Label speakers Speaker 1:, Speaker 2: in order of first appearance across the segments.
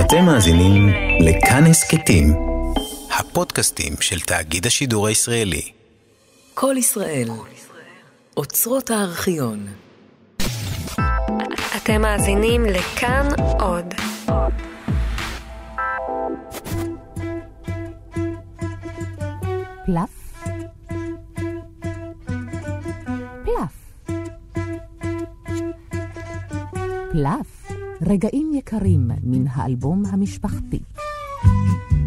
Speaker 1: אתם מאזינים לכאן הסכתים, הפודקאסטים של תאגיד השידור הישראלי.
Speaker 2: כל ישראל, אוצרות הארכיון.
Speaker 3: אתם מאזינים לכאן עוד.
Speaker 4: פלף? פלף. פלף, רגעים יקרים מן האלבום המשפחתי.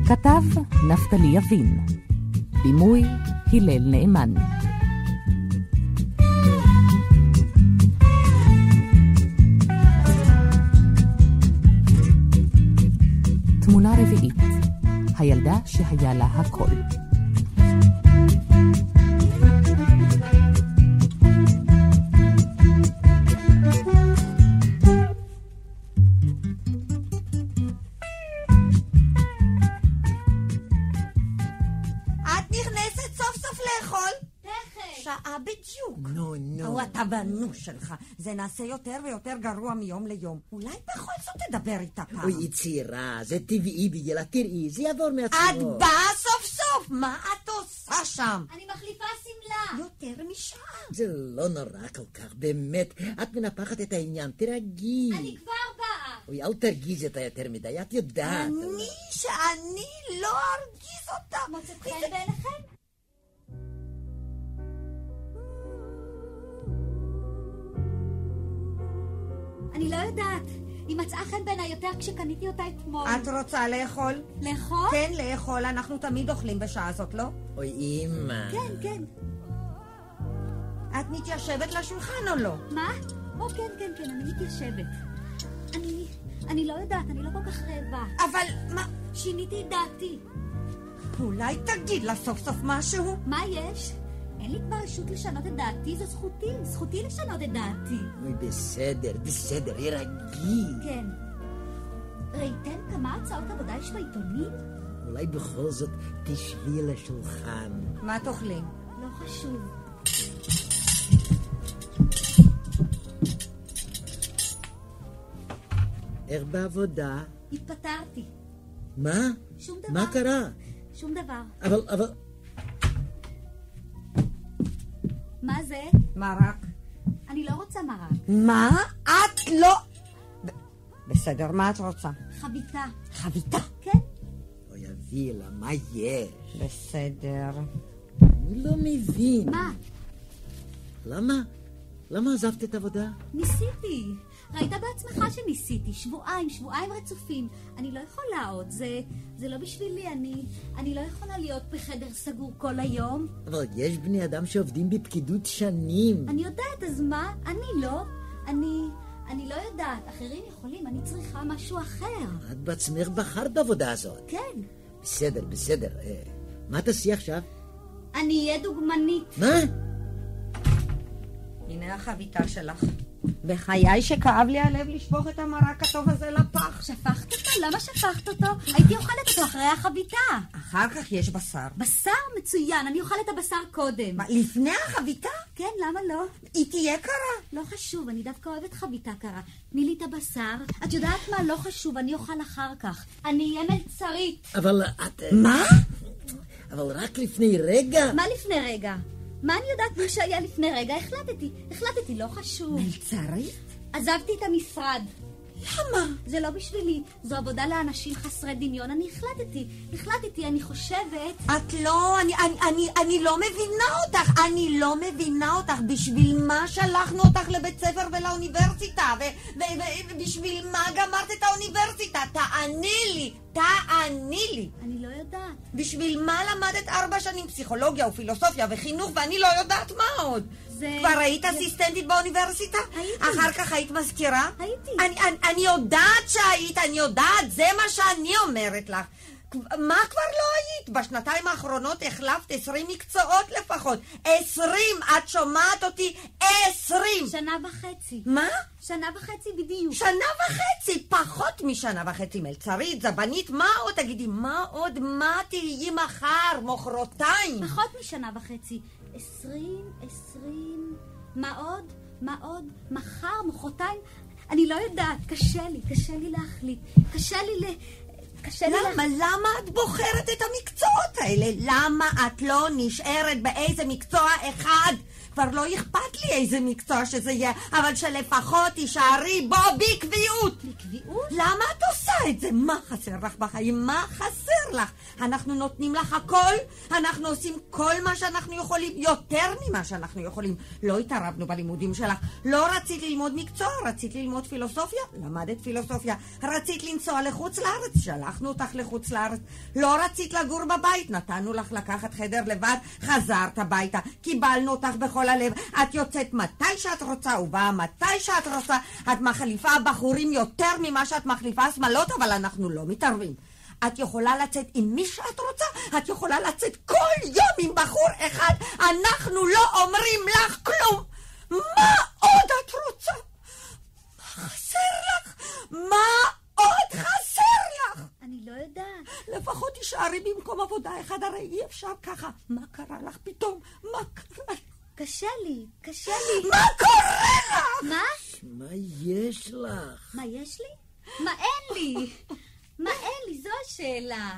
Speaker 4: כתב נפתלי יבין, בימוי הלל נאמן. תמונה רביעית, הילדה שהיה לה הכל.
Speaker 5: את נכנסת סוף סוף לאכול? תכף. שעה בדיוק. נו, נו. הוא אתה בנוש שלך. זה נעשה יותר ויותר גרוע מיום ליום. אולי בכל זאת תדבר איתה
Speaker 4: אה.
Speaker 5: פעם.
Speaker 6: אוי, יצירה, זה טבעי בגילה, תראי, זה יעבור
Speaker 5: את
Speaker 6: מעצמו.
Speaker 5: באה סוף סוף! מה את עושה שם?
Speaker 7: אני מחליפה שמלה.
Speaker 5: יותר משעה.
Speaker 6: זה לא נורא כל כך, באמת. את מנפחת את העניין, תירגעי.
Speaker 7: אני כבר באה.
Speaker 6: אוי, אל תרגיזי אותה יותר מדי, את יודעת.
Speaker 5: אני, שאני לא ארגיז אותה.
Speaker 7: מוצאת חן בעיניכם? אני לא יודעת. היא מצאה חן בעיניי יותר כשקניתי אותה אתמול.
Speaker 5: את רוצה לאכול?
Speaker 7: לאכול?
Speaker 5: כן, לאכול. אנחנו תמיד אוכלים בשעה זאת, לא?
Speaker 6: אוי, אימא.
Speaker 7: כן, כן.
Speaker 5: את מתיישבת לשולחן או לא?
Speaker 7: מה? או כן, כן, כן, אני מתיישבת. אני... אני לא יודעת, אני לא כל כך רעבה.
Speaker 5: אבל מה...
Speaker 7: שיניתי את דעתי.
Speaker 5: אולי תגיד לה סוף סוף משהו?
Speaker 7: מה יש? אין לי כבר רשות לשנות את דעתי, זו זכותי. זכותי לשנות את דעתי.
Speaker 6: אוי, בסדר, בסדר, תירגעי.
Speaker 7: כן. ראיתם כמה הצעות עבודה יש בעיתונים?
Speaker 6: אולי בכל זאת תשבי לשולחן.
Speaker 5: מה תאכלים?
Speaker 7: לא חשוב.
Speaker 6: איך בעבודה?
Speaker 7: התפטרתי.
Speaker 6: מה?
Speaker 7: שום דבר.
Speaker 6: מה קרה?
Speaker 7: שום דבר.
Speaker 6: אבל, אבל...
Speaker 7: מה זה?
Speaker 5: מרק.
Speaker 7: אני לא רוצה מרק.
Speaker 5: מה? את לא... ב- בסדר, מה את רוצה?
Speaker 7: חביתה.
Speaker 5: חביתה.
Speaker 7: כן?
Speaker 6: אוי, אבי, לה, מה יש?
Speaker 5: בסדר.
Speaker 6: אני לא מבין.
Speaker 7: מה?
Speaker 6: למה? למה עזבת את העבודה?
Speaker 7: ניסיתי. ראית בעצמך שניסיתי. שבועיים, שבועיים רצופים. אני לא יכולה עוד. זה... זה לא בשבילי. אני... אני לא יכולה להיות בחדר סגור כל היום.
Speaker 6: אבל יש בני אדם שעובדים בפקידות שנים.
Speaker 7: אני יודעת, אז מה? אני לא. אני... אני לא יודעת. אחרים יכולים. אני צריכה משהו אחר.
Speaker 6: את בעצמך בחרת בעבודה הזאת.
Speaker 7: כן.
Speaker 6: בסדר, בסדר. אה, מה תעשי עכשיו?
Speaker 7: אני אהיה דוגמנית.
Speaker 6: מה?
Speaker 5: הנה החביתה שלך. בחיי שכאב לי הלב לשפוך את המרק הטוב הזה לפח.
Speaker 7: שפכת אותו? למה שפכת אותו? הייתי אוכלת אותו אחרי החביתה.
Speaker 5: אחר כך יש בשר.
Speaker 7: בשר מצוין, אני אוכל את הבשר קודם.
Speaker 5: מה, לפני החביתה?
Speaker 7: כן, למה לא?
Speaker 5: היא תהיה קרה.
Speaker 7: לא חשוב, אני דווקא אוהבת חביתה קרה. תני לי את הבשר. את יודעת מה? לא חשוב, אני אוכל אחר כך. אני אהיה מלצרית.
Speaker 6: אבל את... אה,
Speaker 5: מה?
Speaker 6: אבל רק לפני רגע.
Speaker 7: מה לפני רגע? מה אני יודעת מה שהיה לפני רגע? החלטתי. החלטתי, לא חשוב.
Speaker 5: מלצרית?
Speaker 7: עזבתי את המשרד.
Speaker 5: למה?
Speaker 7: זה לא בשבילי, זו עבודה לאנשים חסרי דמיון. אני החלטתי. החלטתי, אני חושבת...
Speaker 5: את לא, אני, אני, אני, אני לא מבינה אותך, אני לא מבינה אותך. בשביל מה שלחנו אותך לבית ספר ולאוניברסיטה? ו- ו- ו- ובשביל מה גמרת את האוניברסיטה? תעני לי, תעני לי.
Speaker 7: אני לא יודעת.
Speaker 5: בשביל מה למדת ארבע שנים פסיכולוגיה ופילוסופיה וחינוך ואני לא יודעת מה עוד?
Speaker 7: זה-
Speaker 5: כבר היית
Speaker 7: זה-
Speaker 5: אסיסטנטית באוניברסיטה?
Speaker 7: הייתי.
Speaker 5: אחר כך היית מזכירה?
Speaker 7: הייתי.
Speaker 5: אני, אני, אני יודעת שהיית, אני יודעת, זה מה שאני אומרת לך. כב- מה כבר לא היית? בשנתיים האחרונות החלפת עשרים מקצועות לפחות. עשרים! את שומעת אותי? עשרים!
Speaker 7: שנה וחצי.
Speaker 5: מה?
Speaker 7: שנה וחצי בדיוק.
Speaker 5: שנה וחצי, פחות משנה וחצי מלצרית, זבנית, מה עוד? תגידי, מה עוד? מה תהיי מחר, מוחרתיים?
Speaker 7: פחות משנה וחצי. עשרים, עשרים, מה עוד? מה עוד? מחר, מחרתיים? אני לא יודעת, קשה לי, קשה לי להחליט. קשה לי ל... קשה לי...
Speaker 5: למה?
Speaker 7: לה-
Speaker 5: למה את בוחרת את המקצועות האלה? למה את לא נשארת באיזה מקצוע אחד? כבר לא אכפת לי איזה מקצוע שזה יהיה, אבל שלפחות תישארי בו בקביעות!
Speaker 7: בקביעות?
Speaker 5: למה את עושה את זה? מה חסר לך בחיים? מה חסר לך? אנחנו נותנים לך הכל, אנחנו עושים כל מה שאנחנו יכולים, יותר ממה שאנחנו יכולים. לא התערבנו בלימודים שלך. לא רצית ללמוד מקצוע, רצית ללמוד פילוסופיה? למדת פילוסופיה. רצית לנסוע לחוץ לארץ? שלחנו אותך לחוץ לארץ. לא רצית לגור בבית? נתנו לך לקחת חדר לבד, חזרת הביתה. קיבלנו אותך בכל הלב. את יוצאת מתי שאת רוצה ובאה מתי שאת רוצה. את מחליפה בחורים יותר ממה שאת מחליפה שמלות, אבל אנחנו לא מתערבים. את יכולה לצאת עם מי שאת רוצה, את יכולה לצאת כל יום עם בחור אחד, אנחנו לא אומרים לך כלום! מה עוד את רוצה? מה חסר לך? מה עוד חסר לך?
Speaker 7: אני לא יודעת.
Speaker 5: לפחות תישארי במקום עבודה אחד, הרי אי אפשר ככה. מה קרה לך פתאום? מה קרה לך?
Speaker 7: קשה לי, קשה לי.
Speaker 5: מה קורה לך?
Speaker 7: מה?
Speaker 6: מה יש לך?
Speaker 7: מה יש לי? מה אין לי? מה אין לי? זו השאלה.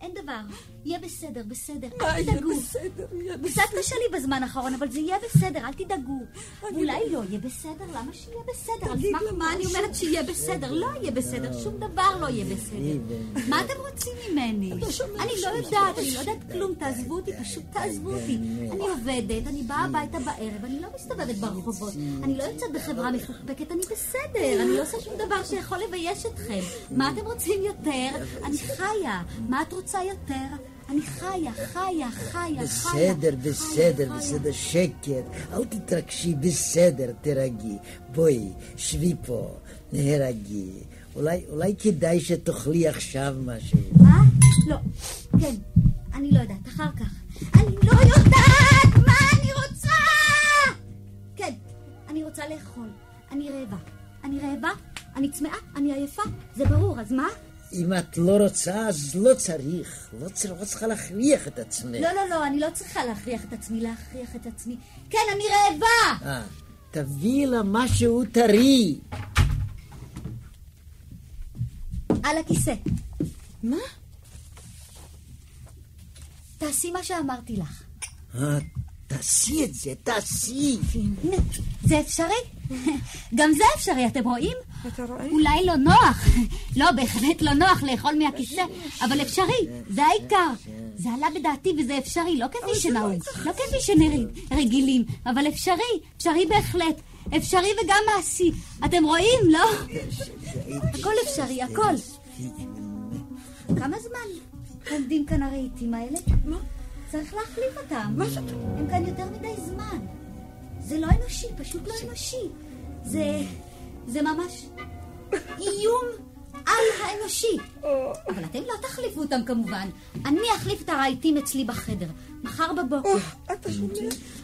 Speaker 7: אין דבר. יהיה בסדר, בסדר.
Speaker 5: מה,
Speaker 7: אל
Speaker 5: יהיה
Speaker 7: תדאגו.
Speaker 5: בסדר, יהיה
Speaker 7: קצת קשה לי בזמן האחרון, אבל זה יהיה בסדר, אל תדאגו. אולי לא יהיה בסדר, למה שיהיה בסדר? על
Speaker 5: תגיד
Speaker 7: סמך
Speaker 5: לה
Speaker 7: מה אני אומרת שיהיה בסדר? לא יהיה בסדר, שום דבר לא יהיה בסדר. מה אתם רוצים ממני? אני לא יודעת, אני לא יודעת כלום, תעזבו אותי, פשוט תעזבו אותי. אני עובדת, אני באה הביתה בערב, אני לא מסתובבת ברחובות, אני לא יוצאת בחברה מפוקפקת, אני בסדר, אני לא עושה שום דבר שיכול לבייש אתכם. מה אתם רוצים יותר? אני חיה. מה את רוצה יותר? אני חיה, חיה, חיה, חיה.
Speaker 6: בסדר, בסדר,
Speaker 7: חיה,
Speaker 6: בסדר, שקט. אל תתרגשי, בסדר, תירגעי. בואי, שבי פה, נהרגי. אולי, אולי כדאי שתאכלי עכשיו משהו.
Speaker 7: מה? לא. כן. אני לא יודעת. אחר כך. אני לא יודעת מה אני רוצה! כן. אני רוצה לאכול. אני רעבה. אני רעבה? אני צמאה? אני עייפה? זה ברור, אז מה?
Speaker 6: אם את לא רוצה, אז לא צריך. לא, צר, לא צריכה להכריח את עצמך.
Speaker 7: לא, לא, לא, אני לא צריכה להכריח את עצמי, להכריח את עצמי. כן, אני רעבה!
Speaker 6: אה, תביאי לה משהו טרי.
Speaker 7: על הכיסא. מה? תעשי מה שאמרתי לך.
Speaker 6: אה, תעשי את זה, תעשי.
Speaker 7: הנה, זה אפשרי? גם זה אפשרי, אתם רואים? אתה רואה? אולי לא נוח. לא, בהחלט לא נוח לאכול מהכיסא, אבל אפשרי, זה העיקר. זה עלה בדעתי וזה אפשרי, לא כפי שנהוג, לא כפי שרגילים, אבל אפשרי, אפשרי בהחלט. אפשרי וגם מעשי. אתם רואים, לא? הכל אפשרי, הכל. כמה זמן עומדים כאן הרהיטים האלה? מה? צריך להחליף אותם. מה שאתה... הם כאן יותר מדי זמן. זה לא אנושי, פשוט לא אנושי. זה... זה ממש איום על האנושי. אבל אתם לא תחליפו אותם כמובן. אני אחליף את הרהיטים אצלי בחדר. מחר בבוקר.
Speaker 5: אתה שומע?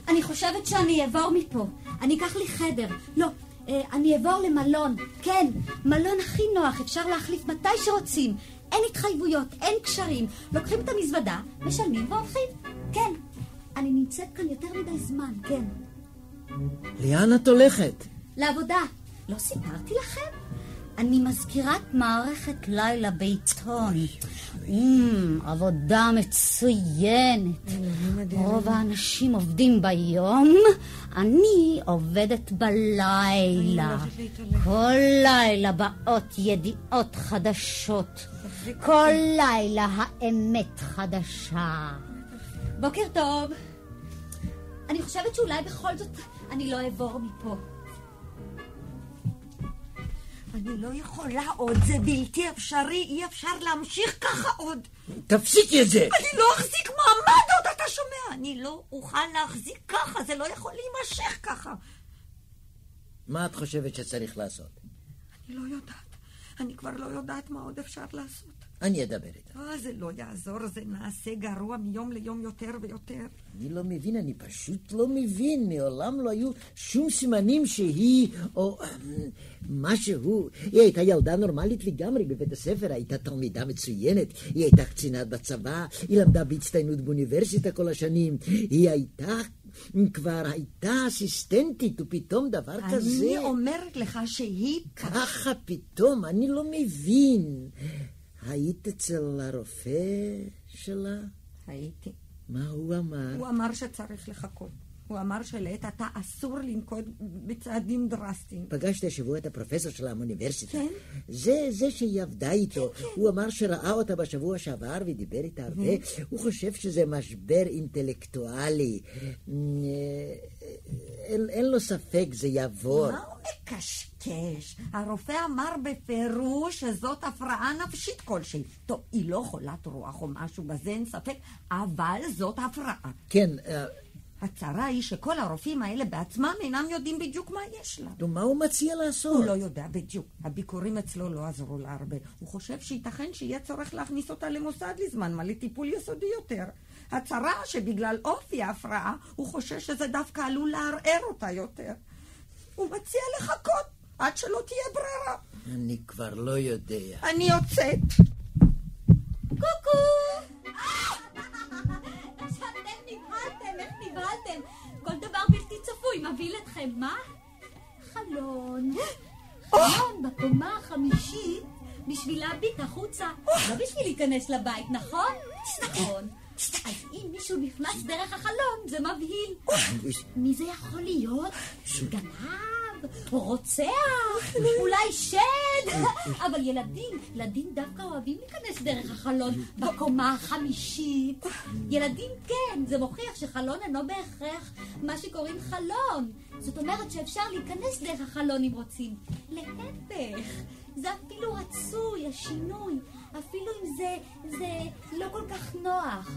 Speaker 7: אני חושבת שאני אעבור מפה. אני אקח לי חדר. לא, אה, אני אעבור למלון. כן, מלון הכי נוח, אפשר להחליף מתי שרוצים. אין התחייבויות, אין קשרים. לוקחים את המזוודה, משלמים והולכים. כן, אני נמצאת כאן יותר מדי זמן, כן.
Speaker 6: לאן את הולכת?
Speaker 7: לעבודה. לא סיפרתי לכם? אני מזכירת מערכת לילה בעיתון. אמ, עבודה מצוינת. רוב האנשים עובדים ביום, אני עובדת בלילה. כל לילה באות ידיעות חדשות. כל לילה האמת חדשה. בוקר טוב. אני חושבת שאולי בכל זאת אני לא אעבור מפה.
Speaker 5: אני לא יכולה עוד, זה בלתי אפשרי, אי אפשר להמשיך ככה עוד.
Speaker 6: תפסיקי את זה!
Speaker 5: אני לא אחזיק מעמד עוד, אתה שומע? אני לא אוכל להחזיק ככה, זה לא יכול להימשך ככה.
Speaker 6: מה את חושבת שצריך לעשות?
Speaker 5: אני לא יודעת, אני כבר לא יודעת מה עוד אפשר לעשות.
Speaker 6: אני אדבר איתך.
Speaker 5: אה, זה לא יעזור, זה נעשה גרוע מיום ליום יותר ויותר.
Speaker 6: אני לא מבין, אני פשוט לא מבין. מעולם לא היו שום סימנים שהיא, או אמ, משהו. היא הייתה ילדה נורמלית לגמרי בבית הספר, הייתה תלמידה מצוינת, היא הייתה קצינה בצבא, היא למדה בהצטיינות באוניברסיטה כל השנים, היא הייתה כבר הייתה אסיסטנטית, ופתאום דבר כזה...
Speaker 5: אני אומרת לך שהיא ככה.
Speaker 6: ככה פתאום, אני לא מבין. היית אצל הרופא שלה?
Speaker 5: הייתי.
Speaker 6: מה הוא אמר?
Speaker 5: הוא אמר שצריך לחכות. הוא אמר שלעת עתה אסור לנקוט בצעדים דרסטיים.
Speaker 6: פגשת השבוע את הפרופסור שלה מהאוניברסיטה.
Speaker 5: כן.
Speaker 6: זה, זה שהיא עבדה איתו. הוא אמר שראה אותה בשבוע שעבר ודיבר
Speaker 5: Mhm.
Speaker 6: איתה הרבה. הוא חושב שזה משבר אינטלקטואלי. אה, אין, אין לו ספק, זה יעבור.
Speaker 5: מה הוא מקשקש? הרופא אמר בפירוש שזאת הפרעה נפשית כלשהי. טוב, היא לא חולת רוח או משהו בזה, אין ספק, אבל זאת הפרעה.
Speaker 6: כן, אה,
Speaker 5: הצרה היא שכל הרופאים האלה בעצמם אינם יודעים בדיוק מה יש לה.
Speaker 6: נו, מה הוא מציע לעשות?
Speaker 5: הוא לא יודע בדיוק. הביקורים אצלו לא עזרו לה הרבה. הוא חושב שייתכן שיהיה צורך להכניס אותה למוסד לזמן מה לטיפול יסודי יותר. הצרה שבגלל אופי ההפרעה, הוא חושש שזה דווקא עלול לערער אותה יותר. הוא מציע לחכות עד שלא תהיה ברירה.
Speaker 6: אני כבר לא יודע.
Speaker 5: אני יוצאת.
Speaker 8: קוקו!
Speaker 7: עכשיו אתם נבהלתם, איך נבהלתם? כל דבר בלתי צפוי מבהיל אתכם, מה? חלון. חלון בקומה החמישית בשביל להביט החוצה, לא בשביל להיכנס לבית, נכון? נכון. אז אם מישהו נכנס דרך החלון, זה מבהיל. מי זה יכול להיות? גנב, או רוצח, אולי שד. אבל ילדים, ילדים דווקא אוהבים להיכנס דרך החלון בקומה החמישית. ילדים כן, זה מוכיח שחלון אינו בהכרח מה שקוראים חלון. זאת אומרת שאפשר להיכנס דרך החלון אם רוצים. להפך, זה אפילו רצוי, השינוי. אפילו אם זה, זה לא כל כך נוח.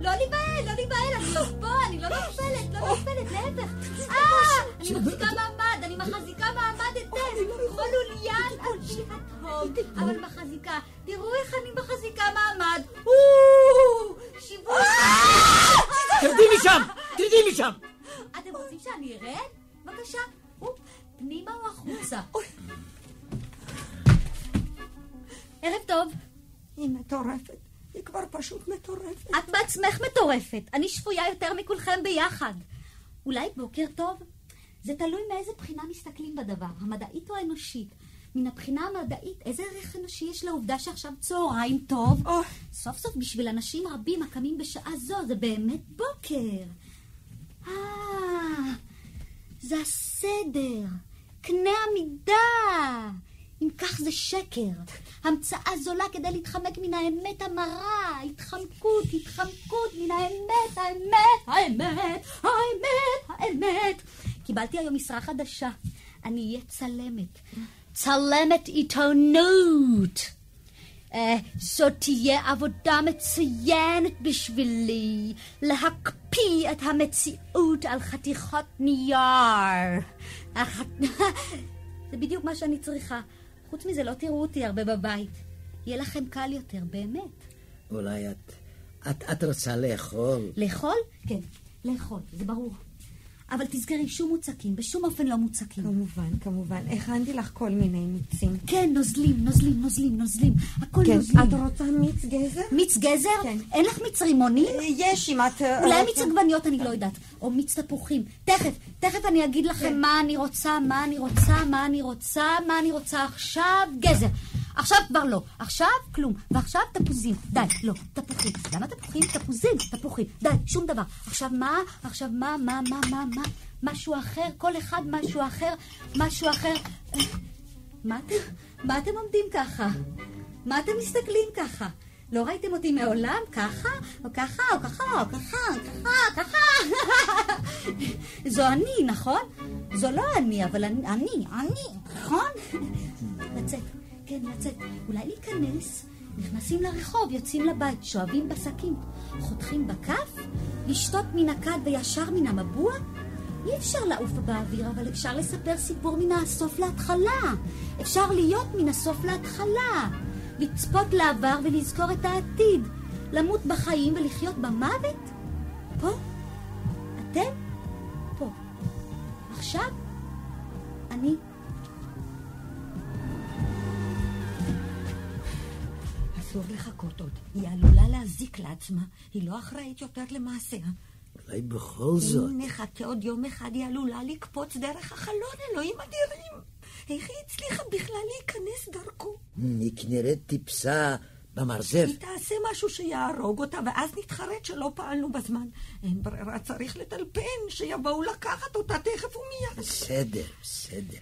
Speaker 7: לא להיבהל, לא להיבהל, אני לא פה, אני לא נופלת, לא נופלת, להפך. אה, אני מחזיקה מעמד, אה, לא אני מחזיקה מעמד היטב, כמו לוליין על פי התהום, אבל מחזיקה. תראו איך אני מחזיקה מעמד. או, שיווי. אה!
Speaker 6: תרדי משם! תרדי משם!
Speaker 7: אתם רוצים שאני ארד? בבקשה. או, פנימה או החוצה? ערב טוב.
Speaker 5: היא מטורפת. היא כבר פשוט מטורפת.
Speaker 7: את בעצמך מטורפת. אני שפויה יותר מכולכם ביחד. אולי בוקר טוב? זה תלוי מאיזה בחינה מסתכלים בדבר, המדעית או האנושית. מן הבחינה המדעית, איזה ערך אנושי יש לעובדה שעכשיו צהריים טוב?
Speaker 5: אוי.
Speaker 7: סוף סוף בשביל אנשים רבים הקמים בשעה זו, זה באמת בוקר. אה, זה הסדר, קנה המידה. אם כך זה שקר. המצאה זולה כדי להתחמק מן האמת המרה. התחמקות, התחמקות מן האמת, האמת, האמת, האמת, האמת. קיבלתי היום משרה חדשה. אני אהיה צלמת. צלמת עיתונות. אה, זאת תהיה עבודה מצוינת בשבילי להקפיא את המציאות על חתיכות נייר. הח- Ah, זה בדיוק מה שאני צריכה. חוץ מזה, לא תראו אותי הרבה בבית. יהיה לכם קל יותר, באמת.
Speaker 6: אולי את... את, את רוצה לאכול?
Speaker 7: לאכול? כן, לאכול, זה ברור. אבל תזכרי, שום מוצקים, בשום אופן לא מוצקים.
Speaker 5: כמובן, כמובן. הכנתי לך כל מיני מיצים.
Speaker 7: כן, נוזלים, נוזלים, נוזלים, נוזלים. הכל
Speaker 5: כן,
Speaker 7: נוזלים.
Speaker 5: את רוצה מיץ גזר?
Speaker 7: מיץ גזר?
Speaker 5: כן.
Speaker 7: אין לך מיץ רימונים?
Speaker 5: יש אם את... אה,
Speaker 7: אולי
Speaker 5: רוצה.
Speaker 7: מיץ עגבניות אני לא יודעת, או מיץ תפוחים. תכף, תכף אני אגיד לכם מה אני רוצה, מה אני רוצה, מה אני רוצה, מה אני רוצה עכשיו, גזר. עכשיו כבר לא, עכשיו כלום, ועכשיו תפוזים, די, לא, תפוחים. למה תפוחים? תפוזים, תפוחים, די, שום דבר. עכשיו מה? עכשיו מה, מה, מה, מה, מה? משהו אחר, כל אחד משהו אחר, משהו אחר. אה, מה אתם, מה אתם עומדים ככה? מה אתם מסתכלים ככה? לא ראיתם אותי מעולם ככה, או ככה, או ככה, או ככה, או ככה, ככה. זו אני, נכון? זו לא אני, אבל אני, אני, אני, נכון? לצאת, כן, לצאת. אולי להיכנס, נכנסים לרחוב, יוצאים לבית, שואבים בשקים, חותכים בכף, לשתות מן הכד וישר מן המבוע, אי אפשר לעוף באוויר, אבל אפשר לספר סיפור מן הסוף להתחלה. אפשר להיות מן הסוף להתחלה. לצפות לעבר ולזכור את העתיד. למות בחיים ולחיות במוות. פה? אתם? פה. עכשיו אני...
Speaker 5: אסור לחכות עוד. היא עלולה להזיק לעצמה. היא לא אחראית יותר למעשיה.
Speaker 6: אולי בכל זאת.
Speaker 5: אם נחכה עוד יום אחד היא עלולה לקפוץ דרך החלון, אלוהים אדירים. איך היא הצליחה בכלל להיכנס דרכו?
Speaker 6: היא כנראה טיפסה במרזב.
Speaker 5: היא תעשה משהו שיהרוג אותה, ואז נתחרט שלא פעלנו בזמן. אין ברירה, צריך לטלפן, שיבואו לקחת אותה תכף ומיד.
Speaker 6: בסדר, בסדר.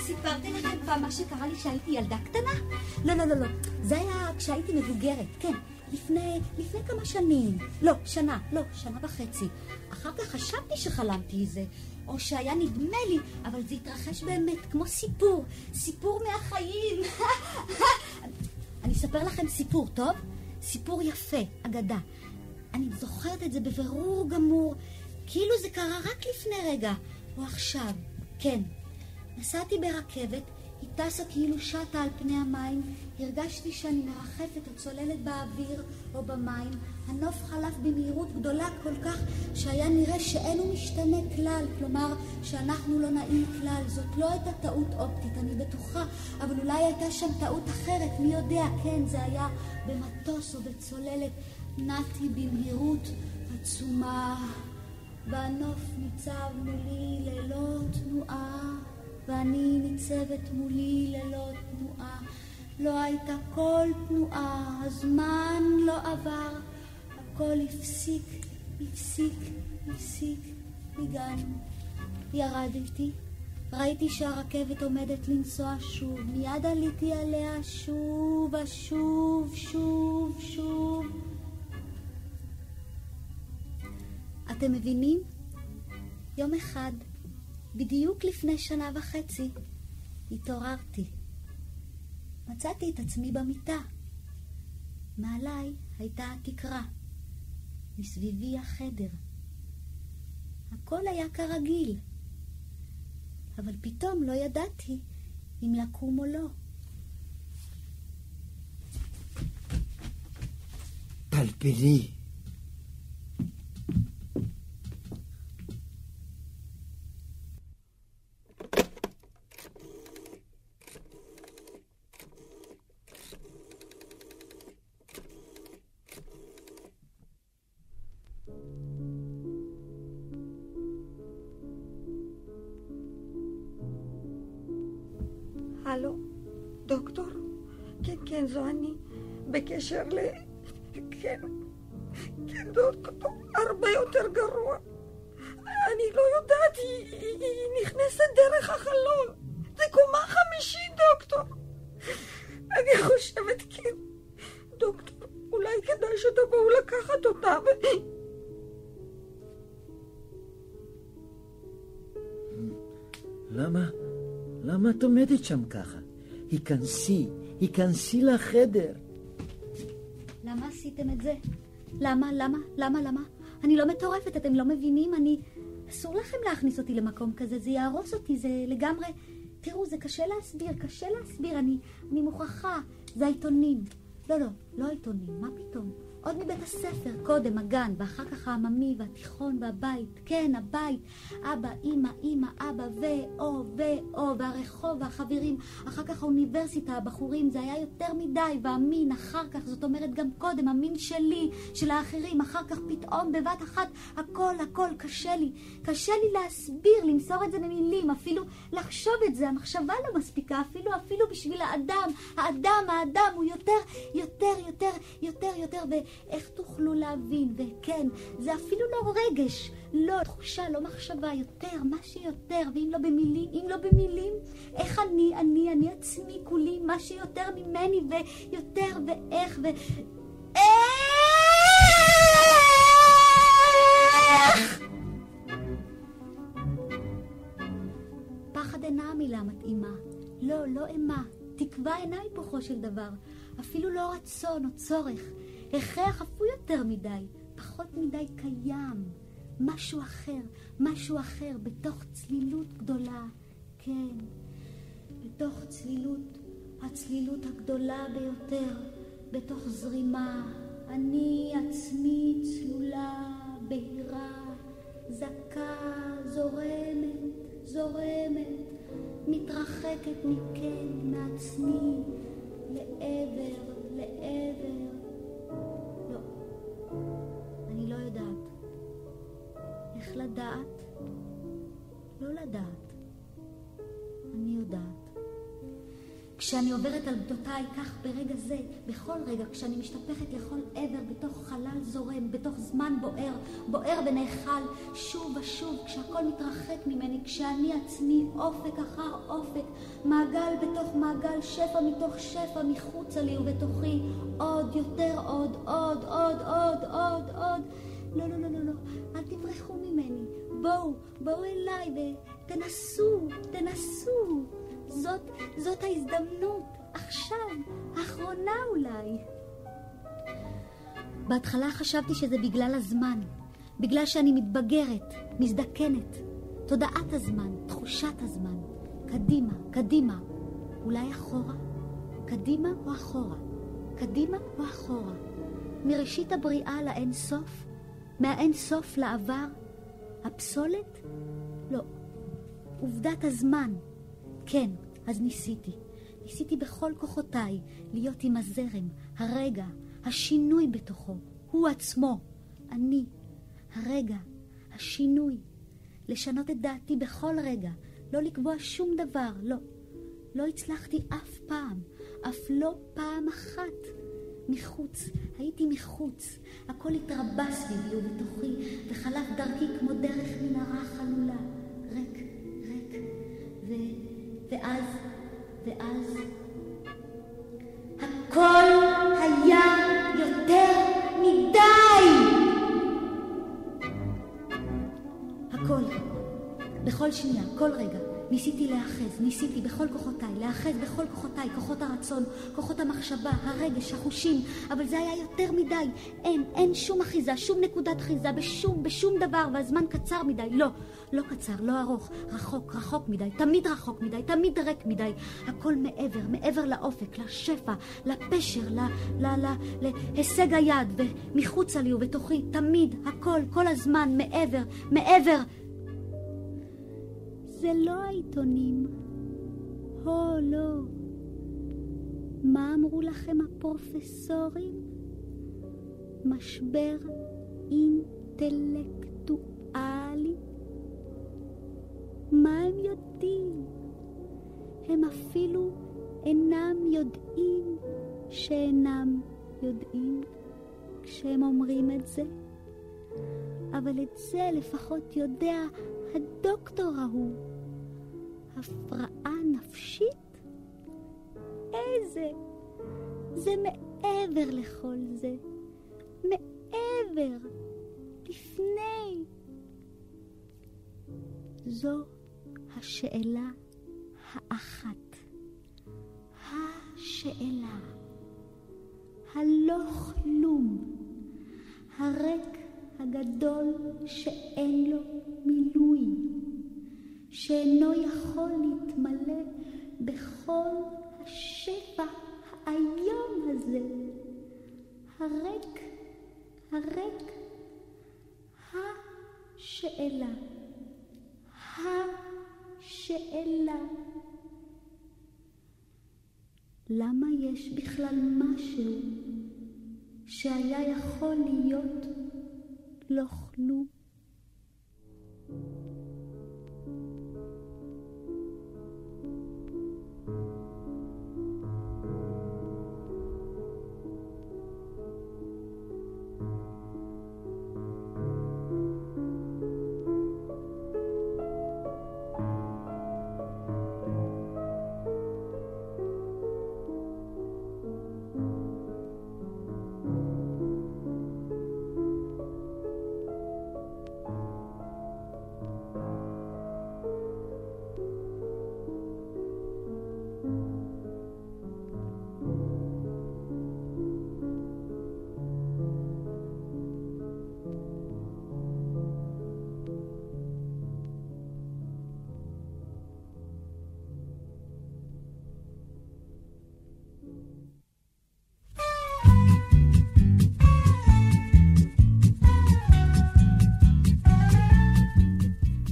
Speaker 7: סיפרתי לכם פעם מה שקרה לי כשהייתי ילדה קטנה? לא, לא, לא, לא. זה היה כשהייתי מבוגרת, כן. לפני, לפני כמה שנים. לא, שנה, לא, שנה וחצי. אחר כך חשבתי שחלמתי איזה, או שהיה נדמה לי, אבל זה התרחש באמת, כמו סיפור. סיפור מהחיים. אני אספר לכם סיפור, טוב? סיפור יפה, אגדה. אני זוכרת את זה בבירור גמור, כאילו זה קרה רק לפני רגע, או עכשיו. כן, נסעתי ברכבת, היא טסה כאילו שטה על פני המים, הרגשתי שאני מרחפת או צוללת באוויר או במים, הנוף חלף במהירות גדולה כל כך שהיה נראה שאין הוא משתנה כלל, כלומר שאנחנו לא נעים כלל, זאת לא הייתה טעות אופטית, אני בטוחה, אבל אולי הייתה שם טעות אחרת, מי יודע, כן, זה היה במטוס או בצוללת, נעתי במהירות עצומה, והנוף ניצב מולי ללא תנועה. ואני ניצבת מולי ללא תנועה. לא הייתה כל תנועה, הזמן לא עבר, הכל הפסיק, הפסיק, הפסיק, הגענו. ירדתי, ראיתי שהרכבת עומדת לנסוע שוב, מיד עליתי עליה שוב, שוב, שוב, שוב. אתם מבינים? יום אחד בדיוק לפני שנה וחצי התעוררתי. מצאתי את עצמי במיטה. מעליי הייתה התקרה. מסביבי החדר. הכל היה כרגיל. אבל פתאום לא ידעתי אם לקום או לא.
Speaker 6: פלפלי.
Speaker 5: הלו, דוקטור? כן, כן, זו אני. בקשר ל... כן, כן, דוקטור, הרבה יותר גרוע. אני לא יודעת, היא, היא, היא נכנסת דרך החלון. זה קומה חמישית, דוקטור. אני חושבת, כן. דוקטור, אולי כדאי שתבואו לקחת אותה ו...
Speaker 6: למה? למה את עומדת שם ככה? היכנסי, היכנסי לחדר.
Speaker 7: למה עשיתם את זה? למה, למה, למה, למה? אני לא מטורפת, אתם לא מבינים, אני... אסור לכם להכניס אותי למקום כזה, זה יהרוס אותי, זה לגמרי... תראו, זה קשה להסביר, קשה להסביר, אני, אני מוכרחה, זה העיתונים. לא, לא, לא העיתונים, מה פתאום? עוד מבית הספר, קודם הגן, ואחר כך העממי, והתיכון, והבית, כן, הבית, אבא, אימא, אימא, אבא, ואו, ואו, והרחוב, והחברים, אחר כך האוניברסיטה, הבחורים, זה היה יותר מדי, והמין, אחר כך, זאת אומרת גם קודם, המין שלי, של האחרים, אחר כך פתאום, בבת אחת, הכל, הכל, קשה לי, קשה לי להסביר, למסור את זה במילים, אפילו לחשוב את זה, המחשבה לא מספיקה, אפילו, אפילו בשביל האדם, האדם, האדם, הוא יותר, יותר, יותר, יותר, יותר, ו... איך תוכלו להבין? וכן, זה אפילו לא רגש, לא תחושה, לא מחשבה, יותר, מה שיותר, ואם לא במילים, אם לא במילים, איך אני, אני, אני עצמי כולי, מה שיותר ממני, ויותר, ואיך, ו... אה! איך? פחד אינה המילה המתאימה. לא, לא אימה. תקווה אינה היפוכו של דבר. אפילו לא רצון או צורך. הכרח אף הוא יותר מדי, פחות מדי קיים. משהו אחר, משהו אחר, בתוך צלילות גדולה. כן, בתוך צלילות הצלילות הגדולה ביותר, בתוך זרימה. אני עצמי צלולה, בהירה, זכה, זורמת, זורמת, מתרחקת מכן, מעצמי, לעבר, לעבר. לא, אני לא יודעת. איך לדעת? לא לדעת. אני יודעת. כשאני עוברת על גדותיי כך ברגע זה, בכל רגע, כשאני משתפכת לכל עבר בתוך חלל זורם, בתוך זמן בוער, בוער ונאכל, שוב ושוב, כשהכל מתרחק ממני, כשאני עצמי אופק אחר אופק, מעגל בתוך מעגל, שפע מתוך שפע, מחוצה לי ובתוכי, עוד יותר עוד, עוד, עוד, עוד, עוד, עוד. לא, לא, לא, לא, לא, אל תברחו ממני. בואו, בואו אליי ותנסו, תנסו. זאת, זאת ההזדמנות, עכשיו, האחרונה אולי. בהתחלה חשבתי שזה בגלל הזמן, בגלל שאני מתבגרת, מזדקנת. תודעת הזמן, תחושת הזמן. קדימה, קדימה. אולי אחורה? קדימה או אחורה? קדימה או אחורה? מראשית הבריאה לאין סוף? מהאין סוף לעבר? הפסולת? לא. עובדת הזמן. כן, אז ניסיתי. ניסיתי בכל כוחותיי להיות עם הזרם, הרגע, השינוי בתוכו, הוא עצמו, אני, הרגע, השינוי. לשנות את דעתי בכל רגע, לא לקבוע שום דבר, לא. לא הצלחתי אף פעם, אף לא פעם אחת. מחוץ, הייתי מחוץ. הכל התרבה סביבי ובתוכי, וחלף דרכי כמו דרך מנהרה חלולה. ריק, ריק. ו... ואז, ואז... הכל היה יותר מדי! הכל, בכל שנייה, כל רגע, ניסיתי להיאחז, ניסיתי בכל כוחותיי, להיאחז בכל כוחותיי, כוחות הרצון, כוחות המחשבה, הרגש, החושים, אבל זה היה יותר מדי. אין, אין שום אחיזה, שום נקודת אחיזה, בשום, בשום דבר, והזמן קצר מדי. לא, לא קצר, לא ארוך, רחוק, רחוק מדי, תמיד רחוק מדי, תמיד ריק מדי. הכל מעבר, מעבר לאופק, לשפע, לפשר, ל... ל... ל... להישג היד, ומחוצה לי ובתוכי, תמיד, הכל, כל הזמן, מעבר, מעבר. זה לא העיתונים. הו, לא. מה אמרו לכם הפרופסורים? משבר אינטלקטואלי? מה הם יודעים? הם אפילו אינם יודעים שאינם יודעים כשהם אומרים את זה. אבל את זה לפחות יודע הדוקטור ההוא. הפרעה נפשית? איזה? זה מעבר לכל זה. מעבר. לפני. זו השאלה האחת. השאלה. הלא כלום. הריק הגדול שאין לו מילוי, שאינו יכול להתמלא בכל השפע האיום הזה. הריק, הריק, השאלה, השאלה. למה יש בכלל משהו שהיה יכול להיות לא כלום?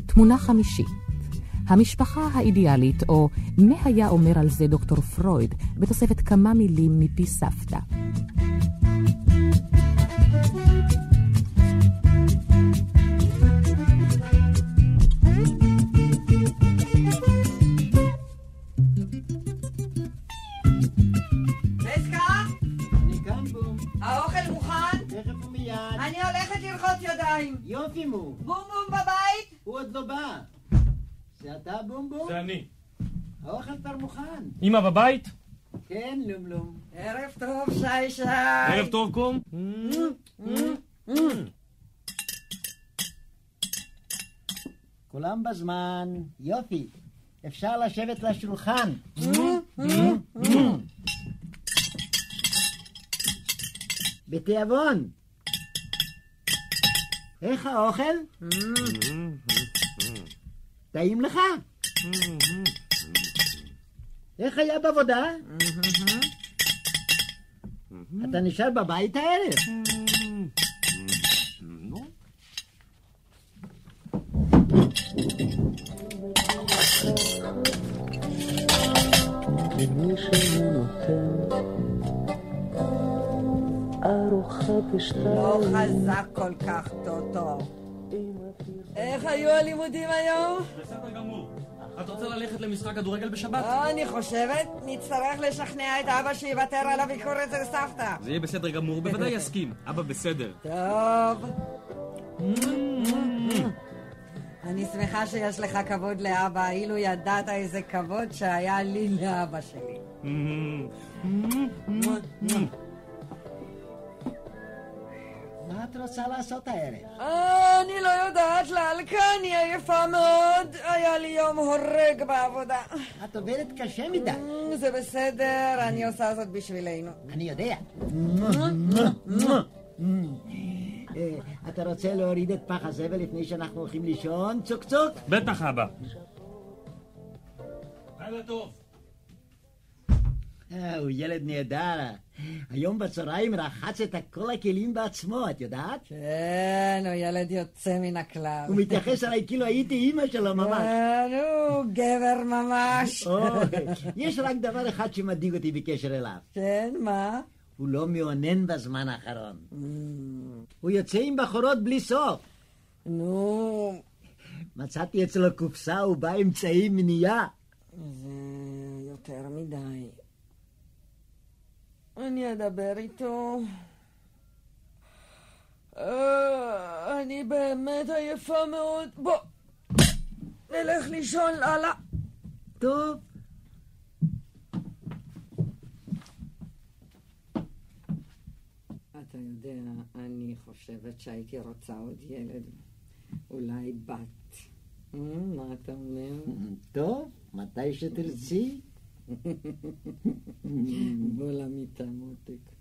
Speaker 4: תמונה חמישית, המשפחה האידיאלית, או מה היה אומר על זה דוקטור פרויד, בתוספת כמה מילים מפי סבתא.
Speaker 5: פסקה,
Speaker 6: אני גם בום,
Speaker 5: האוכל מוכן?
Speaker 6: תכף ומיד.
Speaker 5: אני הולכת לרחוץ ידיים.
Speaker 6: יופי מו,
Speaker 5: בום בום בבית?
Speaker 6: הוא עוד לא בא. זה אתה בום בום?
Speaker 9: זה אני.
Speaker 6: האוכל כבר מוכן.
Speaker 9: אמא בבית?
Speaker 6: כן, לום לום.
Speaker 5: ערב טוב, שי שי.
Speaker 9: ערב טוב קום.
Speaker 6: כולם בזמן. יופי. אפשר לשבת לשולחן. בתיאבון. איך האוכל? טעים לך? איך היה בעבודה? אתה נשאר בבית הערב?
Speaker 10: למי שנותן ארוחה
Speaker 5: לא
Speaker 10: בשתיים
Speaker 5: חזק כל כך, טוטו. איך היו הלימודים היום?
Speaker 9: בסדר גמור. את רוצה ללכת למשחק כדורגל בשבת?
Speaker 5: אה, אני חושבת, נצטרך לשכנע את אבא שיוותר על הביקור אצל סבתא.
Speaker 9: זה יהיה בסדר גמור, בוודאי יסכים. אבא בסדר.
Speaker 5: טוב. אני שמחה שיש לך כבוד לאבא, אילו ידעת איזה כבוד שהיה לי לאבא שלי.
Speaker 6: מה את רוצה לעשות הערב?
Speaker 5: אה, אני לא יודעת להלקה, אני עייפה מאוד. היה לי יום הורג בעבודה.
Speaker 6: את עובדת קשה מדי.
Speaker 5: אמ, זה בסדר, אני עושה זאת בשבילנו.
Speaker 6: אני יודע. מוה, מוה, מוה. אה, אתה רוצה להוריד את פח הזבל לפני שאנחנו הולכים לישון? צוק צוק.
Speaker 9: בטח אבא. לילה טוב.
Speaker 6: אה, הוא ילד נהדר. היום בצהריים רחץ את כל הכלים בעצמו, את יודעת?
Speaker 5: כן, הוא ילד יוצא מן הכלל.
Speaker 6: הוא מתייחס אליי כאילו הייתי אימא שלו ממש.
Speaker 5: כן, הוא גבר ממש.
Speaker 6: או, יש רק דבר אחד שמדאיג אותי בקשר אליו.
Speaker 5: כן, מה?
Speaker 6: הוא לא מאונן בזמן האחרון. הוא יוצא עם בחורות בלי סוף.
Speaker 5: נו,
Speaker 6: מצאתי אצלו קופסה ובה אמצעי מניעה.
Speaker 5: זה יותר מדי. אני אדבר איתו. אה, אני באמת עייפה מאוד. בוא, נלך לישון, לאללה.
Speaker 6: טוב.
Speaker 5: אתה יודע, אני חושבת שהייתי רוצה עוד ילד. אולי בת. אה, מה אתה אומר?
Speaker 6: טוב, מתי שתרצי.
Speaker 5: בוא למיטה, מותק.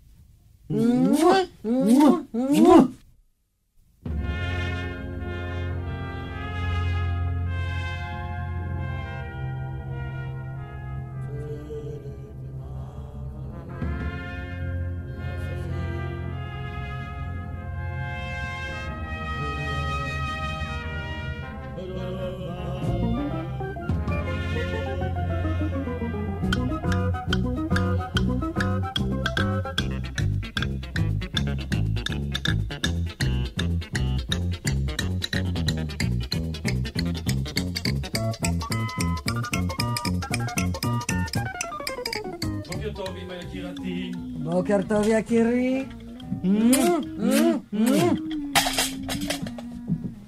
Speaker 9: בוקר טוב אמא יקירתי.
Speaker 5: בוקר טוב, יקירי.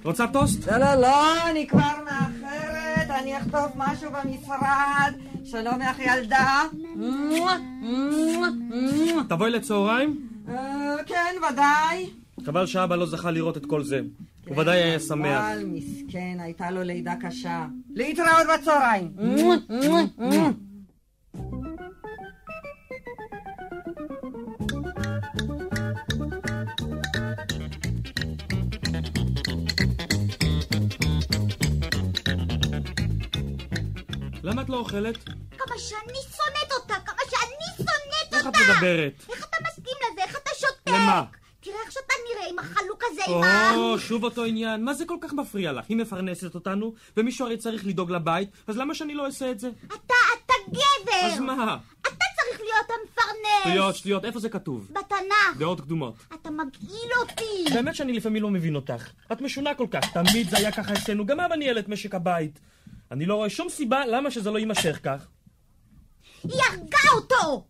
Speaker 9: רוצה טוסט?
Speaker 5: לא, לא, לא, אני כבר מאחרת, אני אכתוב משהו במשרד. שלום לך, ילדה.
Speaker 9: תבואי לצהריים?
Speaker 5: אה, כן, ודאי.
Speaker 9: חבל שאבא לא זכה לראות את כל זה. הוא ודאי היה אה, שמח.
Speaker 5: אבל מסכן, הייתה לו לידה קשה. להתראות בצהריים.
Speaker 9: למה את לא אוכלת?
Speaker 7: כמה שאני שונאת אותה, כמה שאני שונאת
Speaker 9: איך את
Speaker 7: אותה!
Speaker 9: מדברת?
Speaker 7: איך אתה מסכים לזה? איך אתה שותק?
Speaker 9: למה?
Speaker 7: תראה איך שאתה נראה עם החלוק הזה,
Speaker 9: או, שוב אותו עניין. מה זה כל כך מפריע לך? היא מפרנסת אותנו, ומישהו הרי צריך לדאוג לבית, אז למה שאני לא אעשה את זה?
Speaker 7: אתה, אתה גבר!
Speaker 9: אז מה?
Speaker 7: אתה צריך להיות המפרנס!
Speaker 9: שטויות, שטויות, איפה זה כתוב?
Speaker 7: בתנ"ך!
Speaker 9: דעות קדומות.
Speaker 7: אתה מגעיל אותי!
Speaker 9: באמת שאני לפעמים לא מבין אותך. את משונה כל כך, תמיד זה היה ככה אצלנו, גם אבא ניהל את משק הבית. אני לא רואה שום סיבה למה שזה לא יימשך כך.
Speaker 7: היא הרגה אותו!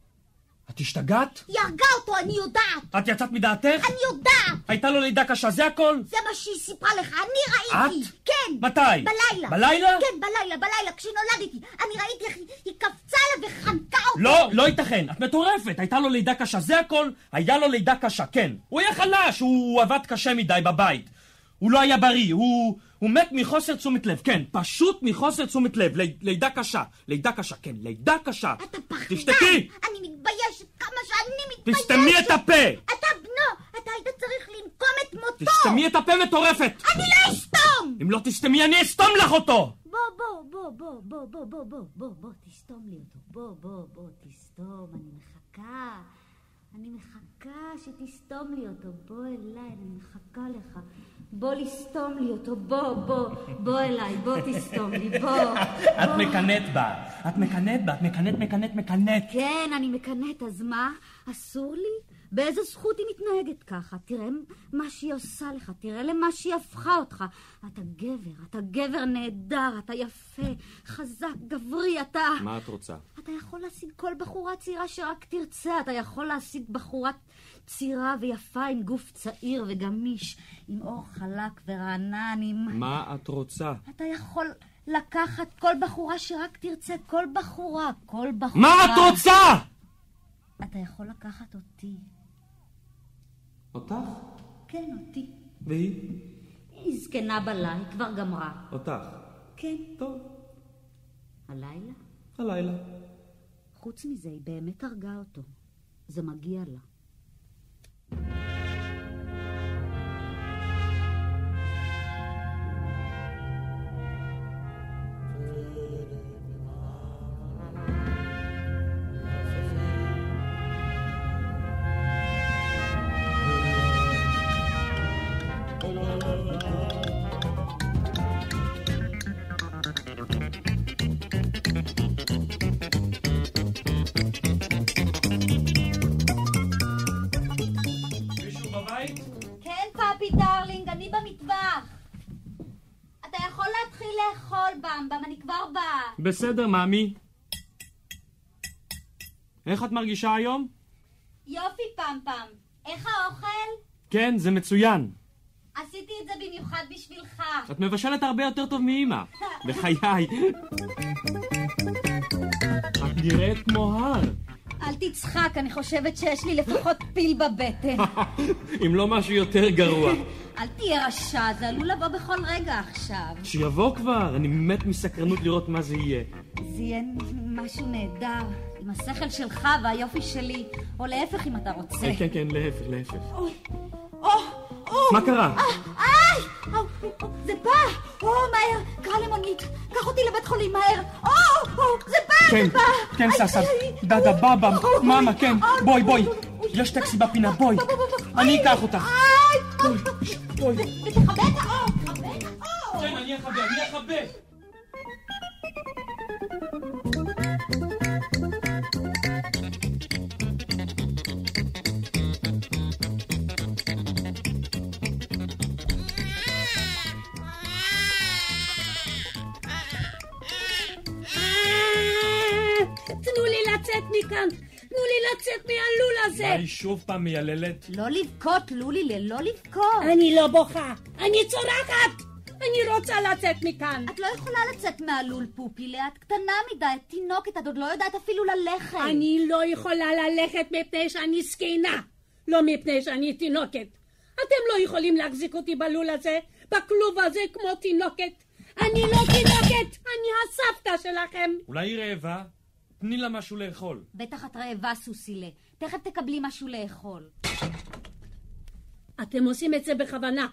Speaker 9: את השתגעת?
Speaker 7: היא הרגה אותו, אני יודעת!
Speaker 9: את יצאת מדעתך?
Speaker 7: אני יודעת!
Speaker 9: הייתה לו לידה קשה, זה הכל?
Speaker 7: זה מה שהיא סיפרה לך, אני ראיתי!
Speaker 9: את?
Speaker 7: כן!
Speaker 9: מתי?
Speaker 7: בלילה!
Speaker 9: בלילה?
Speaker 7: כן, בלילה, בלילה, כשנולדתי. אני ראיתי איך היא- היא קפצה עליו וחנקה אותו!
Speaker 9: לא, לא ייתכן, את מטורפת, הייתה לו לידה קשה, זה הכל, היה לו לידה קשה, כן. הוא היה חלש, הוא עבד קשה מדי בבית. הוא לא היה בריא, הוא, הוא מת מחוסר תשומת לב, כן, פשוט מחוסר תשומת לב, ל, לידה קשה, לידה קשה, כן, לידה קשה. אתה פחדן! תשתקי!
Speaker 7: אני מתביישת כמה שאני מתביישת!
Speaker 9: תסתמי את הפה!
Speaker 7: אתה בנו! אתה היית צריך לנקום את מותו!
Speaker 9: תסתמי את הפה מטורפת!
Speaker 7: אני לא אסתום!
Speaker 9: אם לא תסתמי אני אסתום לך אותו!
Speaker 7: בוא, בוא, בוא, בוא, בוא, בוא, בוא, בוא, בוא, בוא, תסתום לי אותו. בוא, בוא, בוא, תסתום, אני מחכה. אני מחכה שתסתום לי אותו. בוא אליי, אני מחכה לך. בוא לסתום לי אותו. בוא, בוא, בוא אליי, בוא תסתום לי, בוא.
Speaker 9: את מקנאת בה, את מקנאת בה, את מקנאת, מקנאת, מקנאת.
Speaker 7: כן, אני מקנאת, אז מה? אסור לי? באיזה זכות היא מתנהגת ככה? תראה מה שהיא עושה לך, תראה למה שהיא הפכה אותך. אתה גבר, אתה גבר נהדר, אתה יפה, חזק, גברי, אתה...
Speaker 9: מה את רוצה?
Speaker 7: אתה יכול להשיג כל בחורה צעירה שרק תרצה, אתה יכול להשיג בחורה צעירה ויפה עם גוף צעיר וגמיש, עם אור חלק ורענן, עם...
Speaker 9: מה את רוצה?
Speaker 7: אתה יכול לקחת כל בחורה שרק תרצה, כל בחורה, כל בחורה.
Speaker 9: מה את רוצה?
Speaker 7: אתה יכול לקחת אותי.
Speaker 9: אותך?
Speaker 7: כן, אותי.
Speaker 9: והיא?
Speaker 7: היא זקנה בלילה, היא כבר גמרה.
Speaker 9: אותך.
Speaker 7: כן.
Speaker 9: טוב.
Speaker 7: הלילה?
Speaker 9: הלילה.
Speaker 7: חוץ מזה, היא באמת הרגה אותו. זה מגיע לה.
Speaker 9: מישהו בבית?
Speaker 11: כן, פאפי דרלינג, אני במטבח. אתה יכול להתחיל לאכול, במבם, אני כבר באה.
Speaker 9: בסדר, מאמי. איך את מרגישה היום?
Speaker 11: יופי, פמפם. איך האוכל?
Speaker 9: כן, זה מצוין.
Speaker 11: עשיתי את זה במיוחד בשבילך.
Speaker 9: את מבשלת הרבה יותר טוב מאימא. בחיי. את נראית כמו הר.
Speaker 11: אל תצחק, אני חושבת שיש לי לפחות פיל בבטן.
Speaker 9: אם לא משהו יותר גרוע.
Speaker 11: אל תהיה רשע, זה עלול לבוא בכל רגע עכשיו.
Speaker 9: שיבוא כבר, אני מת מסקרנות לראות מה זה יהיה.
Speaker 11: זה יהיה משהו נהדר, עם השכל שלך והיופי שלי, או להפך אם אתה רוצה.
Speaker 9: כן, כן, כן, להפך, להפך.
Speaker 11: או, או! אה,
Speaker 9: מה קרה?
Speaker 11: איי! או, או, זה בא! או, מהר! קרא למונית! קח אותי לבית חולים, מהר! או, או, זה בא!
Speaker 9: כן,
Speaker 11: זה בא!
Speaker 9: כן,
Speaker 11: איי,
Speaker 9: סבא,
Speaker 11: איי,
Speaker 9: דדה, בבא,
Speaker 11: אוי,
Speaker 9: מאמה, כן,
Speaker 11: אוי, אוי,
Speaker 9: בואי, בואי. יש טקסי בפינה, בואי. אני אקח אותך.
Speaker 11: איי!
Speaker 9: בואי, בואי.
Speaker 11: ותכבד את האור! תכבד את האור!
Speaker 9: כן, אני אכבה, אני אכבה.
Speaker 11: תנו לי לצאת מכאן! תנו לי לצאת מהלול הזה!
Speaker 9: היא שוב פעם מייללת.
Speaker 11: לא לבכות, לולי, ללא לבכות.
Speaker 4: אני לא בוכה, אני צורחת! אני רוצה לצאת מכאן.
Speaker 11: את לא יכולה לצאת מהלול, פופילה. את קטנה מדי, את תינוקת, את עוד לא יודעת אפילו ללכת.
Speaker 4: אני לא יכולה ללכת מפני שאני זקנה, לא מפני שאני תינוקת. אתם לא יכולים להחזיק אותי בלול הזה, בכלוב הזה, כמו תינוקת. אני לא תינוקת, אני הסבתא שלכם.
Speaker 9: אולי היא רעבה? תני לה משהו לאכול.
Speaker 11: בטח את רעבה, סוסילה. תכף תקבלי משהו לאכול.
Speaker 4: אתם עושים את זה בכוונה.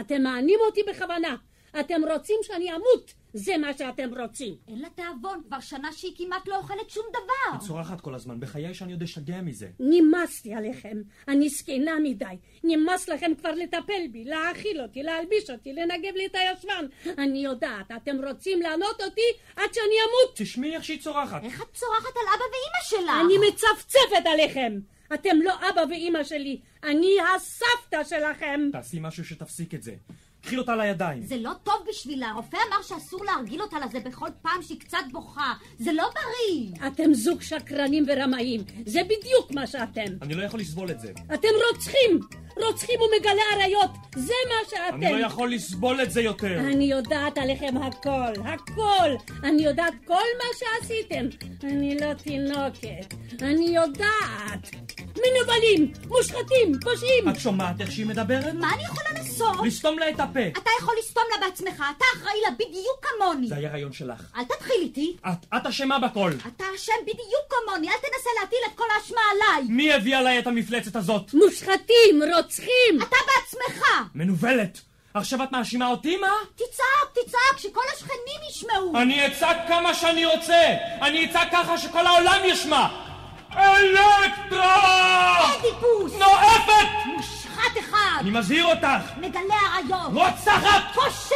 Speaker 4: אתם מענים אותי בכוונה. אתם רוצים שאני אמות.
Speaker 7: זה מה שאתם רוצים.
Speaker 12: אין לה תיאבון, כבר שנה שהיא כמעט לא אוכלת שום דבר.
Speaker 9: היא צורחת כל הזמן, בחיי שאני עוד אשתגע מזה.
Speaker 7: נמאס לי עליכם, אני זקנה מדי. נמאס לכם כבר לטפל בי, להאכיל אותי, להלביש אותי, לנגב לי את הישבן. אני יודעת, אתם רוצים לענות אותי עד שאני אמות.
Speaker 9: תשמעי איך שהיא צורחת.
Speaker 7: איך
Speaker 12: את צורחת על אבא ואימא שלה?
Speaker 7: אני מצפצפת עליכם. אתם לא אבא ואימא שלי, אני הסבתא שלכם.
Speaker 9: תעשי משהו שתפסיק את זה. קחי אותה לידיים.
Speaker 12: זה לא טוב בשבילה, הרופא אמר שאסור להרגיל אותה לזה בכל פעם שהיא קצת בוכה. זה לא בריא.
Speaker 7: אתם זוג שקרנים ורמאים, זה בדיוק מה שאתם.
Speaker 9: אני לא יכול לסבול את זה.
Speaker 7: אתם רוצחים! רוצחים ומגלה עריות! זה מה שאתם!
Speaker 9: אני לא יכול לסבול את זה יותר!
Speaker 7: אני יודעת עליכם הכל, הכל! אני יודעת כל מה שעשיתם! אני לא תינוקת, אני יודעת! מנוולים! מושחתים! פושעים!
Speaker 9: את שומעת איך שהיא מדברת?
Speaker 12: מה אני יכולה לעשות?
Speaker 9: לסתום לה את הפה!
Speaker 12: אתה יכול לסתום לה בעצמך, אתה אחראי לה בדיוק כמוני!
Speaker 9: זה היה רעיון שלך.
Speaker 12: אל תתחיל איתי!
Speaker 9: את, את אשמה בכל!
Speaker 12: אתה אשם בדיוק כמוני, אל תנסה להטיל את כל האשמה עליי!
Speaker 9: מי הביא עליי את המפלצת הזאת?
Speaker 7: מושחתים! רוצחים!
Speaker 12: אתה בעצמך!
Speaker 9: מנוולת! עכשיו את מאשימה אותי, מה?
Speaker 12: תצעק, תצעק, שכל השכנים ישמעו!
Speaker 9: אני אצעק כמה שאני רוצה! אני אצעק ככה שכל העולם ישמע! אלקטרה!
Speaker 12: אדיפוס!
Speaker 9: לא- נואפת!
Speaker 12: מושחת אחד!
Speaker 9: אני לא מזהיר אותך!
Speaker 12: מגלה עריות!
Speaker 9: רוצחת!
Speaker 12: פושע!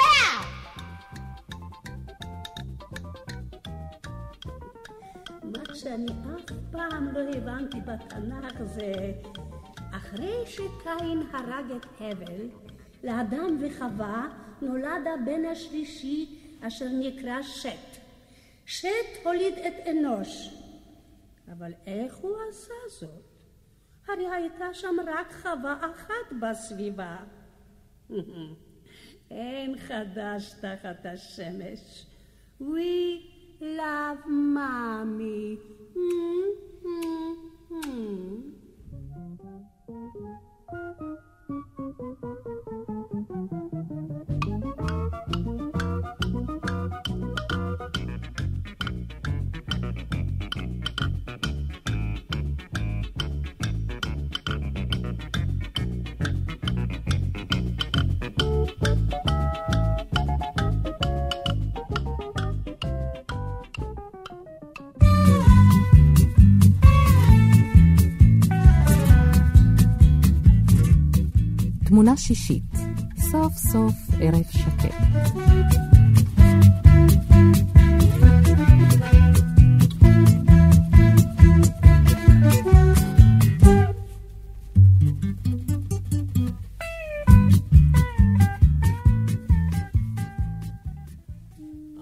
Speaker 7: מה שאני אף פעם לא הבנתי בתנ"ך זה אחרי שקין הרג את הבל, לאדם וחווה נולד הבן השלישי אשר נקרא שת. שת הוליד את אנוש. אבל איך הוא עשה זאת? הרי הייתה שם רק חווה אחת בסביבה. אין חדש תחת השמש. We love mommy.
Speaker 4: תמונה שישית, סוף סוף ערב שקט.